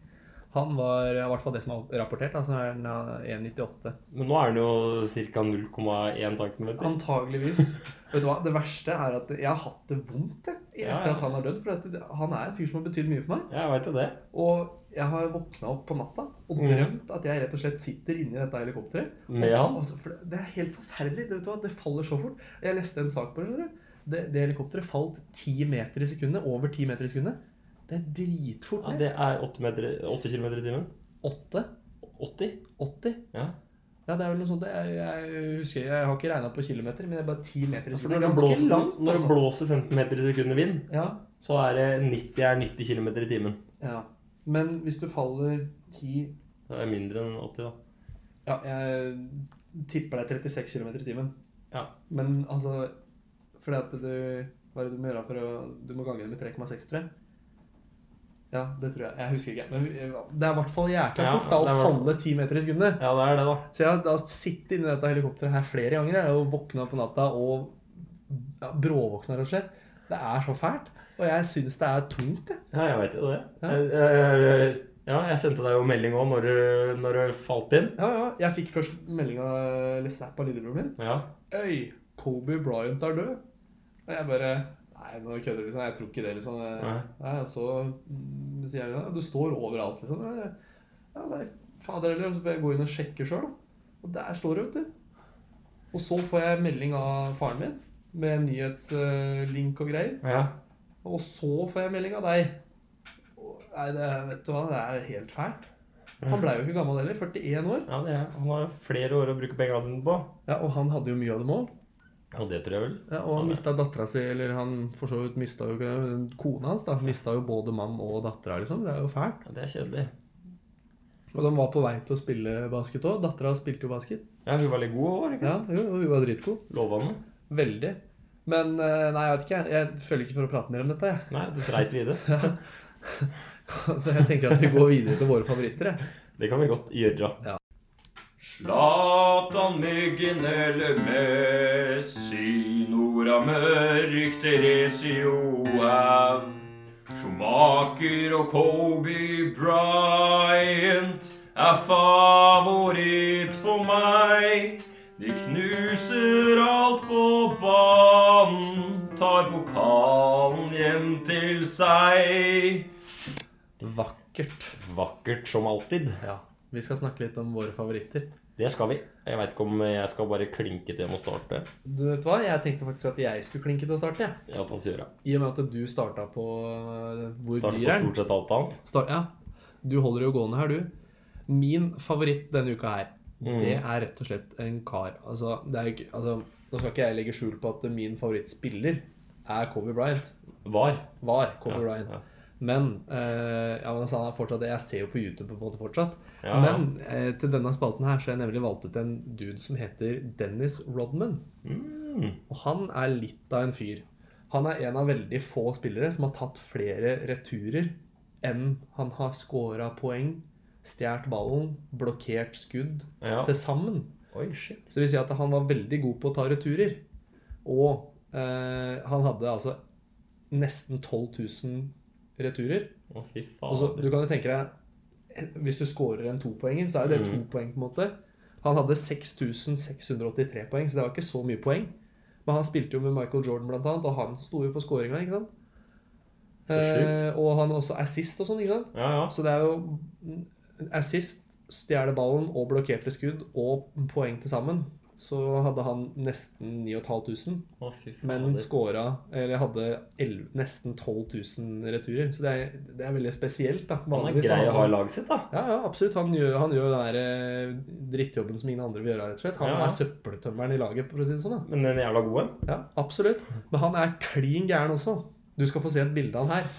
Speaker 3: Han var ja, i hvert fall det som er rapportert. Altså er han eh, 1,98.
Speaker 2: Men nå er han jo ca. 0,1 cm.
Speaker 3: Antageligvis. Vet du hva, Det verste er at jeg har hatt det vondt jeg, etter
Speaker 2: Ja, ja.
Speaker 3: at han har dødd. For at det- han er en fyr som har betydd mye for meg.
Speaker 2: Jeg veit jo det.
Speaker 3: Og jeg har våkna opp på natta og
Speaker 2: Mm.
Speaker 3: drømt at jeg rett og slett sitter inni dette helikopteret. Og
Speaker 2: Med
Speaker 3: faen,
Speaker 2: han?
Speaker 3: altså, for det- det er helt forferdelig. Det, vet du hva? det faller så fort. Jeg leste en sak på det. skjønner du? Det, det helikopteret falt 10 meter i sekundet. Over 10 meter i sekundet. Det er dritfort.
Speaker 2: Ja,
Speaker 3: ned.
Speaker 2: det er 8, meter, 8 km i timen.
Speaker 3: 8?
Speaker 2: 80?
Speaker 3: 80?
Speaker 2: Ja.
Speaker 3: Ja, det er vel noe sånt. Jeg, jeg husker, jeg har ikke regna på kilometer, men det er bare ti meter i
Speaker 2: For når
Speaker 3: sekundet.
Speaker 2: det,
Speaker 3: Ganske
Speaker 2: blåser,
Speaker 3: langt,
Speaker 2: når det
Speaker 3: altså.
Speaker 2: blåser 15 meter i sekundet vind,
Speaker 3: Ja,
Speaker 2: så er det 90, er 90 km i timen.
Speaker 3: ja. Men hvis du faller ti
Speaker 2: Det er mindre enn 80, da.
Speaker 3: Ja, jeg tipper det er 36 km i timen.
Speaker 2: Ja.
Speaker 3: Men altså Fordi at du Hva er det du må gjøre for å Du må gange det med 3,6, tror jeg. Ja, det tror jeg. Jeg husker ikke. Men vi- det er i hvert fall jækla
Speaker 2: Ja,
Speaker 3: fort
Speaker 2: det er
Speaker 3: da, å
Speaker 2: i hvert-
Speaker 3: falle ti meter i sekundet.
Speaker 2: Ja, det er det, da.
Speaker 3: Så jeg har da sittet inni dette helikopteret her flere ganger jeg, og våkna på natta og ja, bråvåkna, rett og slett. Det er så fælt. Og jeg syns det er tungt, jeg.
Speaker 2: Ja, jeg veit jo det.
Speaker 3: Ja.
Speaker 2: Jeg, jeg, jeg, ja, jeg sendte deg jo melding òg når, du- når du falt inn.
Speaker 3: Ja, ja. Jeg fikk først melding av- eller snap av lillebroren min.
Speaker 2: Ja.
Speaker 3: Øy, Kobe Bryant er død. Og jeg bare Nei, nå kødder du, liksom. Jeg tror ikke det, liksom. Jeg-
Speaker 2: Nei.
Speaker 3: Nei, og så mm, sier jeg ja, du står overalt, liksom. Jeg- Ja, nei, fader heller. Så får jeg gå inn og sjekke sjøl, da. Og der står det, vet du. Og så får jeg melding av faren min med nyhetslink og greier.
Speaker 2: ja.
Speaker 3: Og så får jeg melding av deg. Og, Nei, det, er- vet du hva, det er helt fælt. Han blei jo ikke gammel heller. 41 år.
Speaker 2: ja det er. Han har jo flere år å bruke pengene dine på.
Speaker 3: Ja, Og han hadde jo mye av dem òg.
Speaker 2: Ja, det tror jeg vel.
Speaker 3: Ja, og han
Speaker 2: Ja.
Speaker 3: mista dattera si, eller han for så vidt mista jo ikke- kona hans, da. Mista jo både mann og dattera, liksom. Det er jo fælt.
Speaker 2: Ja, det er kjedelig.
Speaker 3: Og de var på vei til å spille basket òg. Dattera spilte jo basket.
Speaker 2: Ja, hun var litt god òg, var hun ikke?
Speaker 3: Ja, jo, jo, hun var dritgod.
Speaker 2: Lovende.
Speaker 3: Veldig. Men eh, nei, jeg vet ikke. jeg- Jeg føler ikke for å prate mer om dette, jeg.
Speaker 2: Nei, det dreit vi i det.
Speaker 3: Jeg tenker at vi går videre til våre favoritter, jeg.
Speaker 2: Det kan vi godt gjøre.
Speaker 1: Zlatan, Myggen eller Messi, Nora Mørk, Theresio Haug, Schumacher og Kobe Bryant er favoritt for meg. De knuser alt på banen, tar pokalen hjem til seg.
Speaker 3: Vakkert.
Speaker 2: Vakkert som alltid.
Speaker 3: Ja. Vi skal snakke litt om våre favoritter.
Speaker 2: Det skal vi. Jeg veit ikke om jeg skal bare klinke til med å starte.
Speaker 3: Du vet hva, jeg tenkte faktisk at jeg skulle klinke til å starte. jeg.
Speaker 2: Ja, ta sier jeg.
Speaker 3: I og med at du starta på eh, Hvor
Speaker 2: Starte
Speaker 3: dyr
Speaker 2: på
Speaker 3: er den?
Speaker 2: stort sett alt annet.
Speaker 3: Start, ja. Du holder jo gående her, du. Min favoritt denne uka her,
Speaker 2: Mm.
Speaker 3: det er rett og slett en kar Altså, det er jo ikke altså, Nå skal ikke jeg legge skjul på at min favorittspiller er Kobe Bryant.
Speaker 2: Var.
Speaker 3: Var Kobe
Speaker 2: Ja,
Speaker 3: Bryant.
Speaker 2: ja.
Speaker 3: Men eh, ja, men altså, han er fortsatt Jeg ser jo på YouTube på en måte fortsatt.
Speaker 2: Ja, ja.
Speaker 3: Men eh, til denne spalten her så har jeg nemlig valgt ut en dude som heter Dennis Rodman.
Speaker 2: Mm.
Speaker 3: Og han er litt av en fyr. Han er en av veldig få spillere som har tatt flere returer enn han har scora poeng, stjålet ballen, blokkert skudd
Speaker 2: Ja.
Speaker 3: til sammen.
Speaker 2: Oi, shit.
Speaker 3: Så det vil si at han var veldig god på å ta returer. Og eh, han hadde altså nesten 12 000 returer.
Speaker 2: Å, fy
Speaker 3: Og så,
Speaker 2: fader.
Speaker 3: Altså, du kan jo tenke deg Hvis du scorer en topoenger, så er jo det
Speaker 2: Mm.
Speaker 3: to poeng, på en måte. Han hadde 6683 poeng, så det var ikke så mye poeng. Men han spilte jo med Michael Jordan, blant annet, og han sto jo for scoringa, ikke sant?
Speaker 2: Så sjukt.
Speaker 3: Eh, og han har også assist og sånn, ikke sant?
Speaker 2: Ja, ja.
Speaker 3: Så det er jo assist, stjele ballen og blokkerte skudd og poeng til sammen. Så hadde han nesten 9500.
Speaker 2: Å, fy fader.
Speaker 3: Men skåra Eller hadde 11, nesten 12 000 returer. Så det er, det er veldig spesielt. da
Speaker 2: Han er
Speaker 3: Vanligvis
Speaker 2: grei
Speaker 3: har
Speaker 2: å ha i laget sitt, da.
Speaker 3: ja, ja, absolutt. Han gjør, han gjør den der eh, drittjobben som ingen andre vil gjøre. rett og slett Han
Speaker 2: Ja, ja.
Speaker 3: er søppeltømmeren i laget, for å si det sånn. da
Speaker 2: Men en jævla god en.
Speaker 3: Ja, Absolutt. Men han er klin gæren også. Du skal få se et bilde av han her.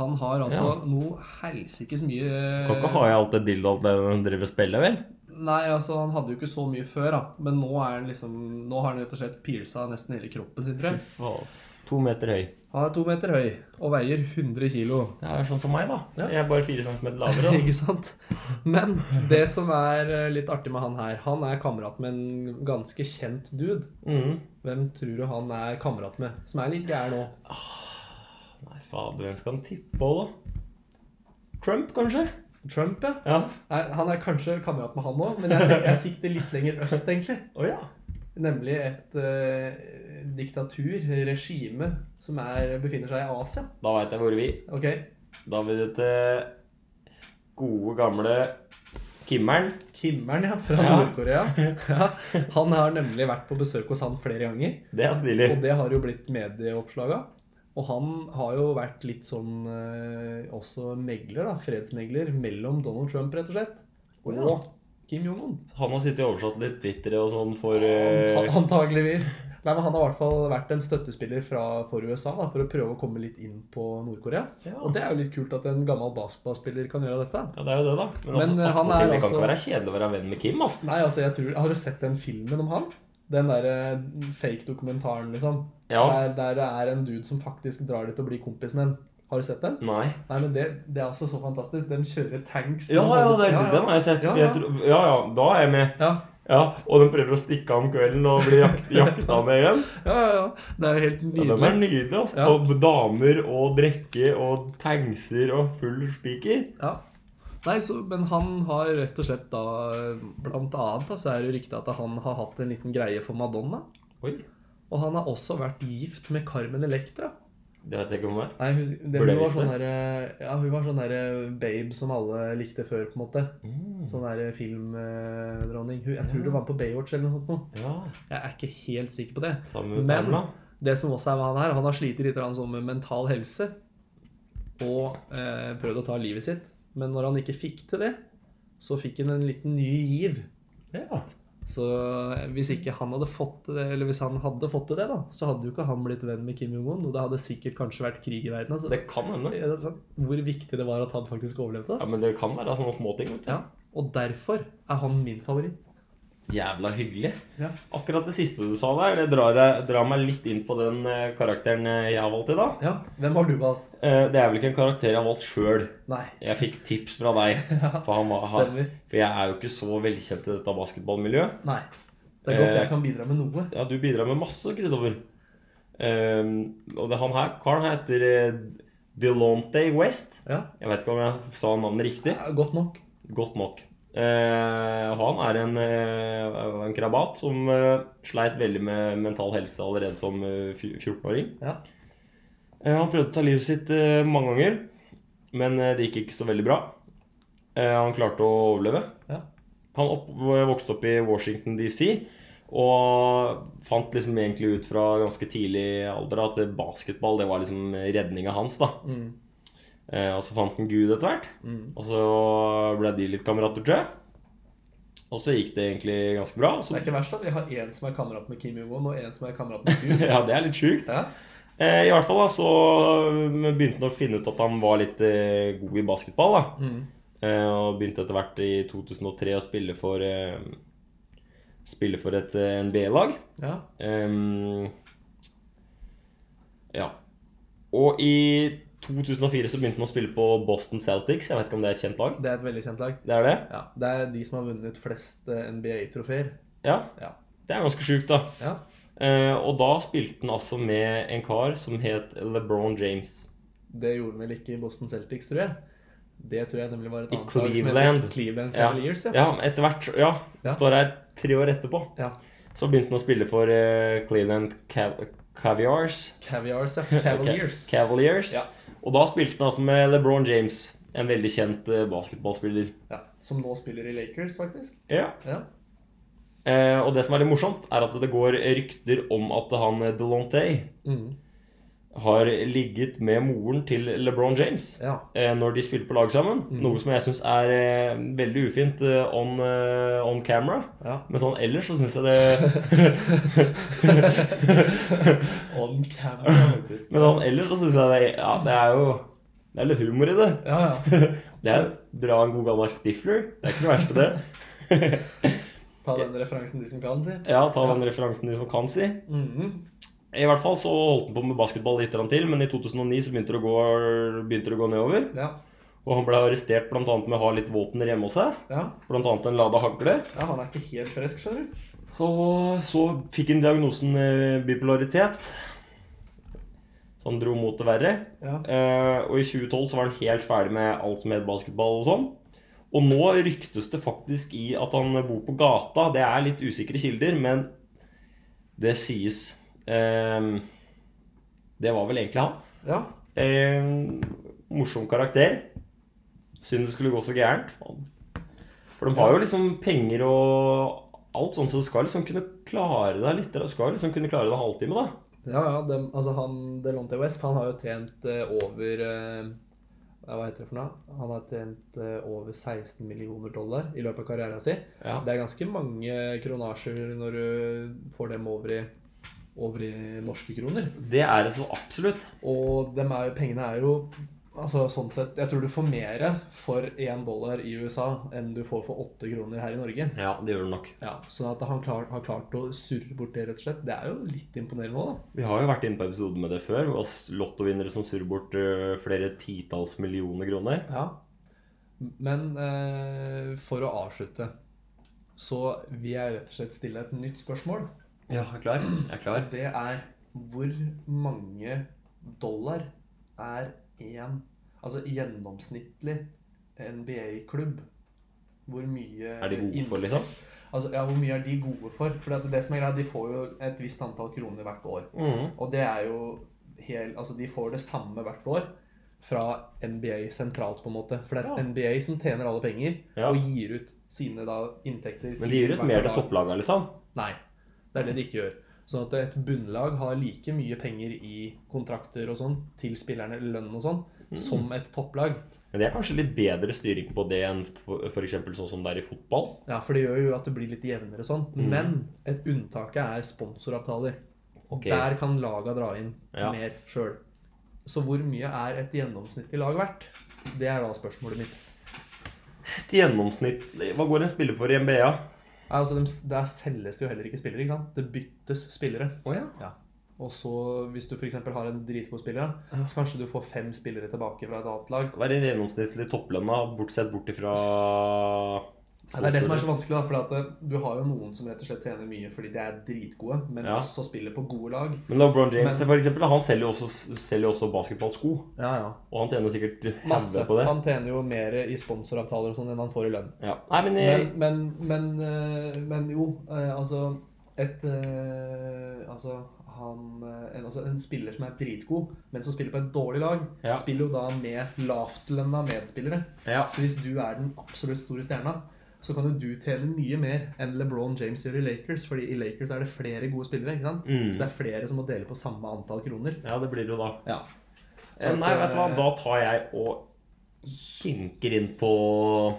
Speaker 3: Han har altså
Speaker 2: Ja.
Speaker 3: noe helsikes mye
Speaker 2: Kan ikke ha i alt det dildoet den driver og spiller, vel?
Speaker 3: Nei, altså han hadde jo ikke så mye før, da. Men nå er han liksom Nå har han rett og slett pierca nesten hele kroppen sin, tror jeg.
Speaker 2: To meter høy.
Speaker 3: Han er to meter høy og veier 100 kilo.
Speaker 2: Det er sånn som meg, da.
Speaker 3: Ja.
Speaker 2: Jeg er bare fire centimeter lavere. Da.
Speaker 3: Ikke sant? Men det som er eh, litt artig med han her, han er kamerat med en ganske kjent dude.
Speaker 2: Mm.
Speaker 3: Hvem tror du han er kamerat med, som er litt gæren òg?
Speaker 2: Nei, fader, hvem skal han tippe på, da? Trump, kanskje?
Speaker 3: Trump, ja.
Speaker 2: Ja.
Speaker 3: Nei, Han er kanskje kamerat med han òg, men jeg, tenker, jeg sikter litt lenger øst, egentlig.
Speaker 2: Å ja.
Speaker 3: Nemlig et eh, diktatur, regime, som er, befinner seg i Asia.
Speaker 2: Da veit jeg hvor vi
Speaker 3: Ok?
Speaker 2: Da vil du til gode, gamle Kimmeren.
Speaker 3: Kimmeren, ja, fra
Speaker 2: Ja.
Speaker 3: Nord-Korea. Ja, han har nemlig vært på besøk hos han flere ganger.
Speaker 2: Det er stilig.
Speaker 3: Og det har jo blitt medieoppslag av. Og han har jo vært litt sånn eh, også megler, da, fredsmegler, mellom Donald Trump rett og slett
Speaker 2: Å, ja.
Speaker 3: og Kim Jong-un.
Speaker 2: Han har sittet og oversatt litt Twitter og sånn for eh,
Speaker 3: Anta- Antageligvis. Nei, men Han har i hvert fall vært en støttespiller fra, for USA da, for å prøve å komme litt inn på Nord-Korea.
Speaker 2: ja.
Speaker 3: Og det er jo litt kult at en gammel basketballspiller kan gjøre dette.
Speaker 2: ja, det er jo det, da. Men,
Speaker 3: Men,
Speaker 2: altså,
Speaker 3: eh, han
Speaker 2: attpåtil,
Speaker 3: er
Speaker 2: det kan
Speaker 3: altså-
Speaker 2: ikke være kjedelig å være venn med Kim. Altså.
Speaker 3: Nei, altså, jeg tror, Har du sett den filmen om han? Den derre fake-dokumentaren, liksom.
Speaker 2: Ja.
Speaker 3: Der, der det er en dude som faktisk drar dit og blir kompisen din. Har du sett den?
Speaker 2: Nei.
Speaker 3: Nei, men det, det er også så fantastisk. De kjører tanks.
Speaker 2: Ja, ja, det,
Speaker 3: ja,
Speaker 2: den har jeg sett.
Speaker 3: Ja,
Speaker 2: Jeg
Speaker 3: ja.
Speaker 2: tror, ja, ja, da er jeg med.
Speaker 3: Ja,
Speaker 2: Ja, Og de prøver å stikke av om kvelden og bli jak jakta ned igjen.
Speaker 3: ja, ja, ja. Det er jo helt
Speaker 2: Ja, den er
Speaker 3: nydelig.
Speaker 2: nydelig. altså.
Speaker 3: Ja.
Speaker 2: Og damer og drikke og tankser og full spiker.
Speaker 3: Ja. Nei, så, men han har rett og slett da Blant annet da, så er det jo ryktet at han har hatt en liten greie for Madonna.
Speaker 2: Oi,
Speaker 3: Og han har også vært gift med Carmen Electra.
Speaker 2: det vet jeg ikke om det er.
Speaker 3: Nei, hun, det,
Speaker 2: Burde
Speaker 3: hun,
Speaker 2: jeg
Speaker 3: var
Speaker 2: visst
Speaker 3: sånn der, ja, hun var sånn der babe som alle likte før, på en måte.
Speaker 2: Mm.
Speaker 3: Sånn der filmdronning. Hun- Jeg tror hun var med på Baywatch eller noe sånt. nå.
Speaker 2: Ja,
Speaker 3: Jeg er ikke helt sikker på det.
Speaker 2: samme med
Speaker 3: Men-
Speaker 2: Pamela.
Speaker 3: Det som også er med han her, han har slitt litt grann sånn med mental helse. Og eh, prøvd å ta livet sitt. Men når han ikke fikk til det, så fikk han en liten ny giv.
Speaker 2: Ja.
Speaker 3: Så eh, hvis ikke han hadde fått til det, eller hvis han hadde fått til det, da, så hadde jo ikke han blitt venn med Kim Jong-un. Og det hadde sikkert kanskje vært krig i verden. Altså.
Speaker 2: Det kan hende.
Speaker 3: Ja, det er sant. Hvor viktig det var at han faktisk overlevde.
Speaker 2: Ja,
Speaker 3: Da.
Speaker 2: men det kan være sånne småting. vet du.
Speaker 3: Ja. Og derfor er han min favoritt.
Speaker 2: Jævla hyggelig.
Speaker 3: Ja.
Speaker 2: Akkurat det siste du sa der, det drar, jeg- drar meg litt inn på den eh, karakteren eh, jeg har valgt i dag.
Speaker 3: ja. Hvem har du valgt?
Speaker 2: Eh, Det er vel ikke en karakter jeg har valgt sjøl.
Speaker 3: Nei.
Speaker 2: Jeg fikk tips fra deg.
Speaker 3: Ja,
Speaker 2: For, han var, han,
Speaker 3: Stemmer.
Speaker 2: for jeg er jo ikke så velkjent i dette basketballmiljøet.
Speaker 3: Nei. Det er godt
Speaker 2: Eh,
Speaker 3: jeg kan bidra med noe.
Speaker 2: Ja, du bidrar med masse, Kristoffer. Ehm, og det han her, karen her heter eh, Delonte West.
Speaker 3: Ja.
Speaker 2: Jeg vet ikke om jeg sa navnet riktig.
Speaker 3: Ja, Godt nok.
Speaker 2: Godt nok. Eh, han er en, eh, en krabat som eh, sleit veldig med mental helse allerede som eh, fj- 14-åring.
Speaker 3: Ja.
Speaker 2: Eh, han prøvde å ta livet sitt eh, mange ganger, men eh, det gikk ikke så veldig bra. Eh, han klarte å overleve.
Speaker 3: Ja.
Speaker 2: Han opp, vokste opp i Washington DC og fant liksom egentlig ut fra ganske tidlig alder at basketball det var liksom redninga hans. da.
Speaker 3: Mm.
Speaker 2: Eh, og så fant han Gud etter hvert.
Speaker 3: Mm.
Speaker 2: Og så ble de litt kamerater, tror jeg. Og så gikk det egentlig ganske bra. og
Speaker 3: Det
Speaker 2: Så,
Speaker 3: er ikke verst, da. Vi har én som er kamerat med Kim Jong-un, og én som er kamerat med Gud.
Speaker 2: ja, det er litt sjukt.
Speaker 3: Ja.
Speaker 2: Eh, I hvert fall da, så eh, begynte han å finne ut at han var litt eh, god i basketball. da.
Speaker 3: Mm.
Speaker 2: Eh, og begynte etter hvert i 2003 å spille for, eh, spille for et eh, NBA-lag.
Speaker 3: ja.
Speaker 2: Ehm, ja. Og i 2004 så begynte han å spille på Boston Celtics. Jeg vet ikke om det er et kjent lag?
Speaker 3: Det er et veldig kjent lag.
Speaker 2: Det er det?
Speaker 3: Ja. Det er de som har vunnet flest eh, NBA-trofeer.
Speaker 2: Ja.
Speaker 3: Ja.
Speaker 2: Det er ganske sjukt, da.
Speaker 3: Ja.
Speaker 2: Eh, og da spilte han altså med en kar som het LeBron James.
Speaker 3: Det gjorde han vel ikke i Boston Celtics, tror jeg. Det tror jeg nemlig var et
Speaker 2: I
Speaker 3: annet lag som
Speaker 2: Cleveland.
Speaker 3: heter Cleveland
Speaker 2: Ja.
Speaker 3: Cavaliers. Ja.
Speaker 2: Ja, etter hvert Ja,
Speaker 3: Ja.
Speaker 2: står her tre år etterpå.
Speaker 3: Ja.
Speaker 2: Så begynte han å spille for eh, Cleveland Cav Caviars.
Speaker 3: Caviars, ja. Cavaliers.
Speaker 2: Ca- Cavaliers.
Speaker 3: Ja.
Speaker 2: Og da spilte han altså med LeBron James, en veldig kjent eh, basketballspiller.
Speaker 3: Ja. Som nå spiller i Lakers, faktisk.
Speaker 2: Ja.
Speaker 3: Ja.
Speaker 2: Eh, og det som er litt morsomt, er at det går rykter om at han eh, Delonte
Speaker 3: Mm.
Speaker 2: har ligget med moren til LeBron James.
Speaker 3: ja.
Speaker 2: eh, når de spiller på lag sammen.
Speaker 3: Mhm.
Speaker 2: Noe som jeg syns er eh, veldig ufint eh, on, eh, on camera.
Speaker 3: ja.
Speaker 2: Men sånn ellers så syns jeg det
Speaker 3: On camera, faktisk.
Speaker 2: Men sånn ellers så syns jeg det Ja, det er jo Det er litt humor i det.
Speaker 3: Ja, ja.
Speaker 2: Det er Dra en god gammeldags Stifler. Det er ikke noe verst i det.
Speaker 3: Ta den referansen de som kan, si.
Speaker 2: Ja, ta den referansen de som kan si.
Speaker 3: Mhm.
Speaker 2: I hvert fall så holdt han på med basketball litt grann til, men i 2009 så begynte det å gå, begynte det å gå nedover.
Speaker 3: Ja.
Speaker 2: Og han ble arrestert bl.a. med å ha litt våpen hjemme hos seg.
Speaker 3: ja.
Speaker 2: Bl.a. en lada hagle.
Speaker 3: Ja, han er ikke helt frisk, skjønner du.
Speaker 2: Så, så fikk han diagnosen eh, bipolaritet. Så han dro mot det verre.
Speaker 3: Ja.
Speaker 2: Eh, og i 2012 så var han helt ferdig med alt som het basketball og sånn. Og nå ryktes det faktisk i at han bor på gata. Det er litt usikre kilder, men det sies. Eh, det var vel egentlig han.
Speaker 3: ja.
Speaker 2: Eh, morsom karakter. Synd det skulle gå så gærent. For de har jo liksom penger og alt sånt, så du skal liksom kunne klare deg litt. Du skal liksom kunne klare deg en halvtime, da.
Speaker 3: Ja, ja, dem, altså han Delonte West han har jo tjent eh, over eh, eh, hva heter det for noe? Han har tjent eh, over 16 millioner dollar i løpet av karrieren sin.
Speaker 2: Ja.
Speaker 3: Det er ganske mange kronasjer når du får dem over i, over i norske kroner.
Speaker 2: Det er det så absolutt.
Speaker 3: Og dem er, pengene er jo Altså sånn sett, Jeg tror du får mer for én dollar i USA enn du får for åtte kroner her i Norge.
Speaker 2: Ja, det gjør det nok.
Speaker 3: Ja, Sånn at han klar, har klart å surre bort det, rett og slett. Det er jo litt imponerende òg, da.
Speaker 2: Vi har jo vært inne på episoden med det før, med oss lottovinnere som surrer bort øh, flere titalls millioner kroner.
Speaker 3: Ja. Men eh, for å avslutte, så vil jeg rett og slett stille et nytt spørsmål.
Speaker 2: Ja, jeg er klar. Jeg er klar.
Speaker 3: Det er hvor mange dollar er én Altså gjennomsnittlig NBA-klubb? Hvor mye
Speaker 2: Er de gode for,
Speaker 3: inn-
Speaker 2: liksom?
Speaker 3: Altså, ja, hvor mye er de gode for? For det, det som er greia, de får jo et visst antall kroner hvert år.
Speaker 2: Mhm.
Speaker 3: Og det er jo hel, Altså, de får det samme hvert år fra NBA sentralt, på en måte. For det er
Speaker 2: Ja.
Speaker 3: NBA som tjener alle penger
Speaker 2: Ja.
Speaker 3: og gir ut sine da inntekter
Speaker 2: Men de gir ut
Speaker 3: hvert
Speaker 2: mer til
Speaker 3: lag.
Speaker 2: topplaga, liksom.
Speaker 3: Nei. Det er det de ikke gjør. Sånn at et bunnlag har like mye penger i kontrakter og sånn til spillerne, lønn og sånn,
Speaker 2: Mm.
Speaker 3: som et topplag.
Speaker 2: Men det er kanskje litt bedre styring på det enn f.eks. sånn som det er i fotball.
Speaker 3: Ja, for det gjør jo at det blir litt jevnere sånn. Men et unntak er sponsoravtaler.
Speaker 2: Ok.
Speaker 3: Der kan laga dra inn
Speaker 2: Ja.
Speaker 3: mer sjøl. Så hvor mye er et gjennomsnittlig lag verdt? Det er da spørsmålet mitt.
Speaker 2: Et gjennomsnitt Hva går en spiller for i NBA?
Speaker 3: Nei, Altså, dem- Der selges det jo heller ikke spillere. ikke sant? Det byttes spillere.
Speaker 2: Å ja.
Speaker 3: Ja. Og så Hvis du f.eks. har en dritgod spiller, da, så kanskje du får fem spillere tilbake fra et annet lag.
Speaker 2: Hva er en gjennomsnittlig topplønna, bortsett bort ifra
Speaker 3: Ja, det er det som er så vanskelig, da, for at eh, du har jo noen som rett og slett tjener mye fordi de er dritgode, men
Speaker 2: Ja.
Speaker 3: også spiller på gode lag.
Speaker 2: Men LeBron James
Speaker 3: Men-
Speaker 2: for eksempel, han selger jo også, selger jo også basketballsko.
Speaker 3: Ja, ja.
Speaker 2: Og han tjener sikkert
Speaker 3: Masse.
Speaker 2: masse på det.
Speaker 3: Han tjener jo mer i sponsoravtaler og sånn enn han får i lønn.
Speaker 2: Ja. Nei, men, jeg,
Speaker 3: Men, men, men, eh, men jo, eh, altså et eh, Altså han eh, en, altså, en spiller som er dritgod, men som spiller på et dårlig lag,
Speaker 2: Ja.
Speaker 3: spiller jo da med lavtlønna medspillere.
Speaker 2: ja.
Speaker 3: Så hvis du er den absolutt store stjerna, så kan jo du tjene mye mer enn LeBron James gjør i Lakers, fordi i Lakers er det flere gode spillere, ikke sant?
Speaker 2: Mm.
Speaker 3: Så det er flere som må dele på samme antall kroner.
Speaker 2: ja, det blir det jo da.
Speaker 3: Ja.
Speaker 2: Eh, Nei, vet du hva, da tar jeg og kinker inn på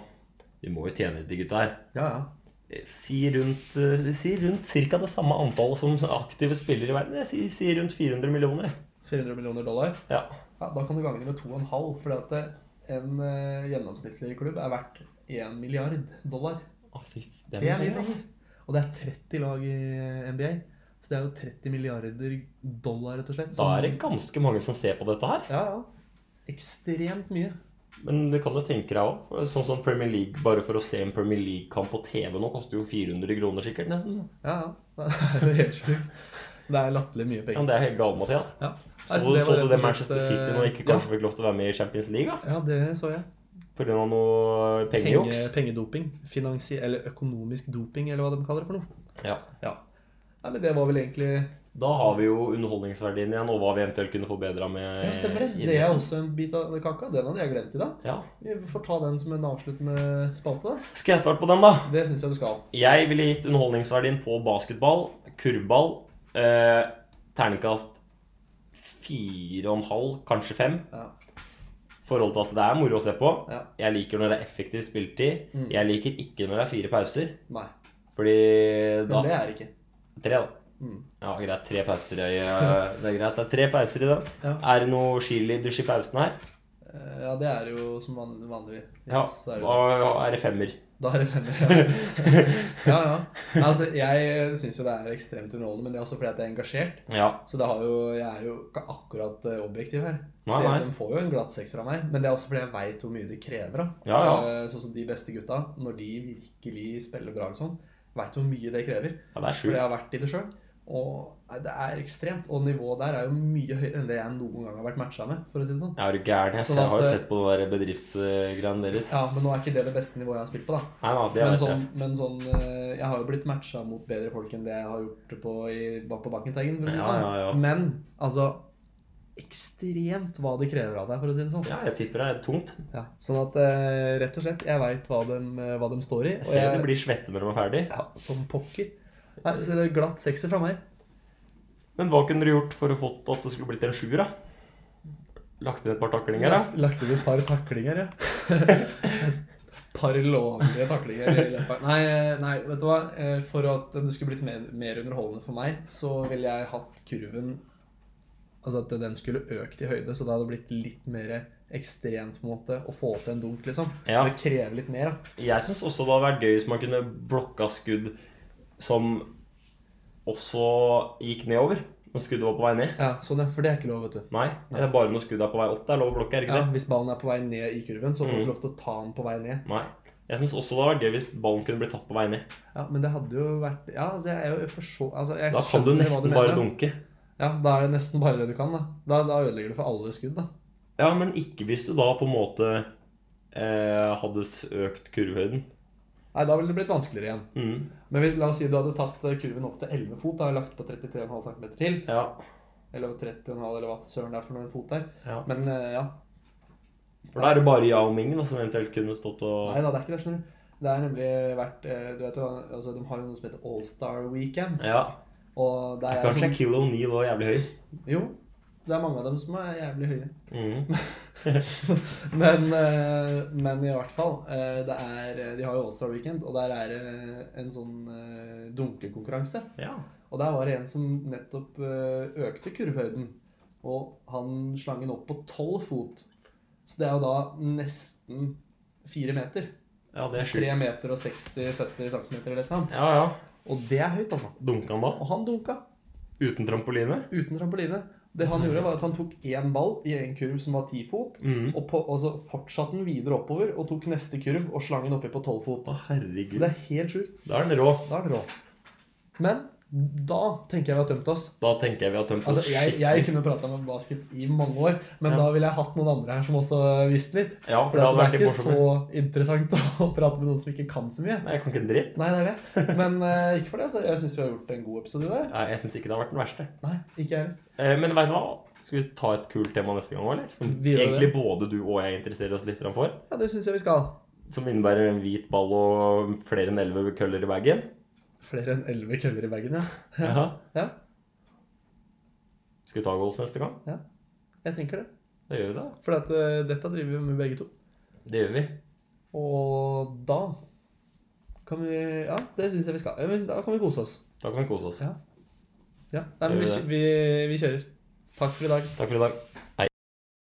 Speaker 2: De må jo tjene litt, de gutta her.
Speaker 3: Ja, ja.
Speaker 2: Eh, Si rundt, eh, si rundt cirka det samme antallet som aktive spillere i verden. Jeg sier si rundt 400 millioner, jeg.
Speaker 3: 400 millioner dollar.
Speaker 2: Ja.
Speaker 3: Ja, da kan du gange det med 2,5, fordi at eh, en eh, gjennomsnittlig klubb er verdt 1 milliard dollar.
Speaker 2: Å, fy,
Speaker 3: Det er mye
Speaker 2: penger, ass.
Speaker 3: penger. Og det er 30 lag i eh, NBA, så det er jo 30 milliarder dollar, rett og slett.
Speaker 2: Da
Speaker 3: som-
Speaker 2: er det ganske mange som ser på dette her.
Speaker 3: Ja, ja. Ekstremt mye.
Speaker 2: Men du kan jo tenke deg òg. Sånn som Premier League, bare for å se en Premier League-kamp på TV nå, koster jo 400 kroner sikkert, nesten.
Speaker 3: Ja, ja. Det er helt sjukt. Det er latterlig mye
Speaker 2: Ja, men
Speaker 3: penger.
Speaker 2: det er helt galt, Mathias.
Speaker 3: Ja.
Speaker 2: Så,
Speaker 3: Nei, det var
Speaker 2: så
Speaker 3: rett
Speaker 2: du
Speaker 3: og
Speaker 2: det
Speaker 3: slett,
Speaker 2: Manchester City nå ikke
Speaker 3: eh,
Speaker 2: kanskje fikk lov til å være med i Champions League? da?
Speaker 3: Ja, ja det så jeg.
Speaker 2: På grunn av noe pengejuks?
Speaker 3: Penge, pengedoping. Finansi eller økonomisk doping, eller hva de kaller det for noe.
Speaker 2: Ja.
Speaker 3: Ja. Nei, men det var vel egentlig
Speaker 2: Da har vi jo underholdningsverdien igjen, og hva vi eventuelt kunne forbedra med
Speaker 3: Ja, stemmer det.
Speaker 2: Eh, i
Speaker 3: Det er også en bit av kaka. Den hadde jeg glemt i dag.
Speaker 2: Ja.
Speaker 3: Vi får ta den som en avsluttende spalte, da.
Speaker 2: Skal jeg starte på den, da?
Speaker 3: Det syns jeg du skal.
Speaker 2: Jeg ville gitt underholdningsverdien på basketball, kurvball, eh, terningkast fire og en halv, kanskje fem.
Speaker 3: Ja.
Speaker 2: forhold til at det er moro å se på.
Speaker 3: Ja.
Speaker 2: Jeg liker når det er effektiv spilletid.
Speaker 3: Mm.
Speaker 2: Jeg liker ikke når det er fire pauser.
Speaker 3: Nei.
Speaker 2: Fordi
Speaker 3: Men
Speaker 2: da
Speaker 3: det er det ikke.
Speaker 2: Tre, da.
Speaker 3: Mm.
Speaker 2: Ja, greit. Tre pauser i eh, Det er greit. Det er tre pauser i den.
Speaker 3: Ja.
Speaker 2: Er det noe cheerleaders i pausen her?
Speaker 3: Eh, ja, det er jo som van vanlig.
Speaker 2: Ja.
Speaker 3: Yes, det er jo
Speaker 2: Da er det femmer.
Speaker 3: Da er det femmer, ja. ja, ja. Nei, Altså, jeg syns jo det er ekstremt underholdende, men det er også fordi at jeg er engasjert.
Speaker 2: Ja.
Speaker 3: Så det har jo, jeg er jo ikke akkurat eh, objektiv her.
Speaker 2: Nei,
Speaker 3: så
Speaker 2: nei.
Speaker 3: jeg, de får jo en glatt sekser av meg, men det er også fordi jeg veit hvor mye det krever. da.
Speaker 2: Ja, ja.
Speaker 3: Eh, Sånn som de beste gutta, når de virkelig spiller bra, liksom, veit hvor mye det krever.
Speaker 2: ja det er
Speaker 3: Fordi jeg
Speaker 2: sjukt.
Speaker 3: har vært i det sjøl. Og nei, det er ekstremt. Og nivået der er jo mye høyere enn det jeg noen gang har vært matcha med, for å si det sånn.
Speaker 2: Jeg er jo gæren. Jeg
Speaker 3: Sånn
Speaker 2: jeg har jo
Speaker 3: at, eh,
Speaker 2: sett på den der bedriftsgreiene deres.
Speaker 3: Ja, men nå er ikke det det beste nivået jeg har spilt på, da.
Speaker 2: Nei, nei, det
Speaker 3: Men
Speaker 2: vet
Speaker 3: sånn,
Speaker 2: jeg.
Speaker 3: men sånn eh, Jeg har jo blitt matcha mot bedre folk enn det jeg har gjort på, i, bak på Bakkenteigen. For å si det
Speaker 2: Ja,
Speaker 3: sånn.
Speaker 2: ja, ja.
Speaker 3: Men altså Ekstremt hva det krever av deg, for å si det sånn.
Speaker 2: Ja, jeg tipper det er tungt.
Speaker 3: Ja, sånn at eh, rett og slett Jeg veit hva, dem, eh, hva de står i.
Speaker 2: Jeg ser at de blir svette når de er ferdig.
Speaker 3: ja, som pokker. Nei, så det er glatt sekser fra meg.
Speaker 2: Men hva kunne du gjort for å fått at det skulle blitt en sjuer, da? Lagt inn et par taklinger, da.
Speaker 3: Lagt, lagt inn et par taklinger, ja. Et par lovlige taklinger. i løpet av- Nei, nei, vet du hva. Eh, For at det skulle blitt mer, mer underholdende for meg, så ville jeg hatt kurven Altså at den skulle økt i høyde, så det hadde blitt litt mer ekstremt på en måte å få til en dunk, liksom.
Speaker 2: Ja.
Speaker 3: Det krever litt mer, da.
Speaker 2: Jeg syns også det hadde vært gøy hvis man kunne blokka skudd som også gikk nedover. Når skuddet var på vei ned.
Speaker 3: Ja, sånn ja, For det er ikke lov, vet du.
Speaker 2: Nei, det er bare når skuddet er på vei opp. Det er lov å blokke, er det ikke
Speaker 3: Ja,
Speaker 2: det?
Speaker 3: hvis ballen er på vei ned i kurven, så får du
Speaker 2: Mm.
Speaker 3: lov til å ta den på vei ned.
Speaker 2: Nei. Jeg syns også det hadde vært gøy hvis ballen kunne blitt tatt på vei ned.
Speaker 3: Ja, men det hadde jo vært Ja, altså jeg er jo for så altså jeg
Speaker 2: Da kan du
Speaker 3: skjønner hva
Speaker 2: nesten
Speaker 3: mener.
Speaker 2: bare dunke.
Speaker 3: Ja, da er det nesten bare det du kan, da. Da, da ødelegger du for alle skudd, da.
Speaker 2: Ja, men ikke hvis du da på en måte eh, hadde s- økt kurvehøyden.
Speaker 3: Nei, da ville det blitt vanskeligere igjen.
Speaker 2: Mm.
Speaker 3: Men hvis, la oss si du hadde tatt eh, kurven opp til 11 fot, da og lagt på 33,5 cm til,
Speaker 2: Ja.
Speaker 3: eller 30,5 eller hva søren det er for noen fot der.
Speaker 2: ja.
Speaker 3: Men eh, ja.
Speaker 2: For da er det bare jeg og Mingen da, som eventuelt kunne stått og
Speaker 3: Nei da, det er ikke det, skjønner du. Det er nemlig vært eh, Du vet jo, altså de har jo noe som heter Allstar Weekend.
Speaker 2: Ja.
Speaker 3: Og det sånn? er
Speaker 2: Kanskje Kill O'Neill òg jævlig høy.
Speaker 3: som, Jo. Det er mange av dem som er jævlig høye.
Speaker 2: Mm.
Speaker 3: men, eh, men i hvert fall, eh, det er, de har jo Allstar Weekend, og der er det en sånn eh, dunkekonkurranse.
Speaker 2: Ja.
Speaker 3: Og der var det en som nettopp eh, økte kurvehøyden, og han slang den opp på tolv fot. Så det er jo da nesten fire meter.
Speaker 2: ja, det er
Speaker 3: Tre
Speaker 2: sjukt.
Speaker 3: meter og 60-70 cm eller noe.
Speaker 2: Ja, ja.
Speaker 3: Og det er høyt, altså.
Speaker 2: Dunka han da?
Speaker 3: Og han dunka
Speaker 2: Uten trampoline?
Speaker 3: uten trampoline. Det han gjorde, var at han tok én ball i en kurv som var ti fot,
Speaker 2: Mm.
Speaker 3: Og, på, og så fortsatte den videre oppover og tok neste kurv og slang den oppi på 12 fot.
Speaker 2: Å,
Speaker 3: Så
Speaker 2: herregud.
Speaker 3: det er helt sjukt.
Speaker 2: Da er den rå.
Speaker 3: Da er det rå. Men da tenker jeg vi har tømt oss.
Speaker 2: Da tenker jeg vi har tømt oss
Speaker 3: Altså, jeg, jeg kunne prata med basket i mange år, men
Speaker 2: Ja.
Speaker 3: da ville jeg hatt noen andre her som også visste litt.
Speaker 2: Ja,
Speaker 3: For
Speaker 2: for det
Speaker 3: det,
Speaker 2: hadde vært
Speaker 3: er
Speaker 2: litt
Speaker 3: ikke så
Speaker 2: morsomt.
Speaker 3: interessant å prate med noen som ikke kan så mye.
Speaker 2: Nei, jeg kan ikke en dritt.
Speaker 3: Nei, det er det. Men eh, ikke for det. Så jeg syns vi har gjort en god episode der.
Speaker 2: Nei, jeg syns ikke det har vært den verste.
Speaker 3: Nei, ikke jeg heller.
Speaker 2: Eh, men veit du hva? Skal vi ta et kult tema neste gang òg, eller? Som
Speaker 3: Vi gjør
Speaker 2: egentlig både du og jeg interesserer oss litt grann for.
Speaker 3: Ja, det syns jeg vi skal.
Speaker 2: Som innebærer en hvit ball og flere enn elleve køller i bagen.
Speaker 3: Flere enn elleve køller i bagen, ja.
Speaker 2: Ja.
Speaker 3: ja.
Speaker 2: Skal vi ta goals neste gang?
Speaker 3: Jeg tenker det.
Speaker 2: Da gjør vi det.
Speaker 3: For at, eh, dette driver vi med begge to.
Speaker 2: Det gjør vi.
Speaker 3: Og da kan vi Ja, det syns jeg vi skal. Ja, men Da kan vi kose oss.
Speaker 2: Da kan vi kose oss.
Speaker 3: Ja, Nei, men vi, vi, vi kjører. Takk for i dag.
Speaker 2: Takk for i dag.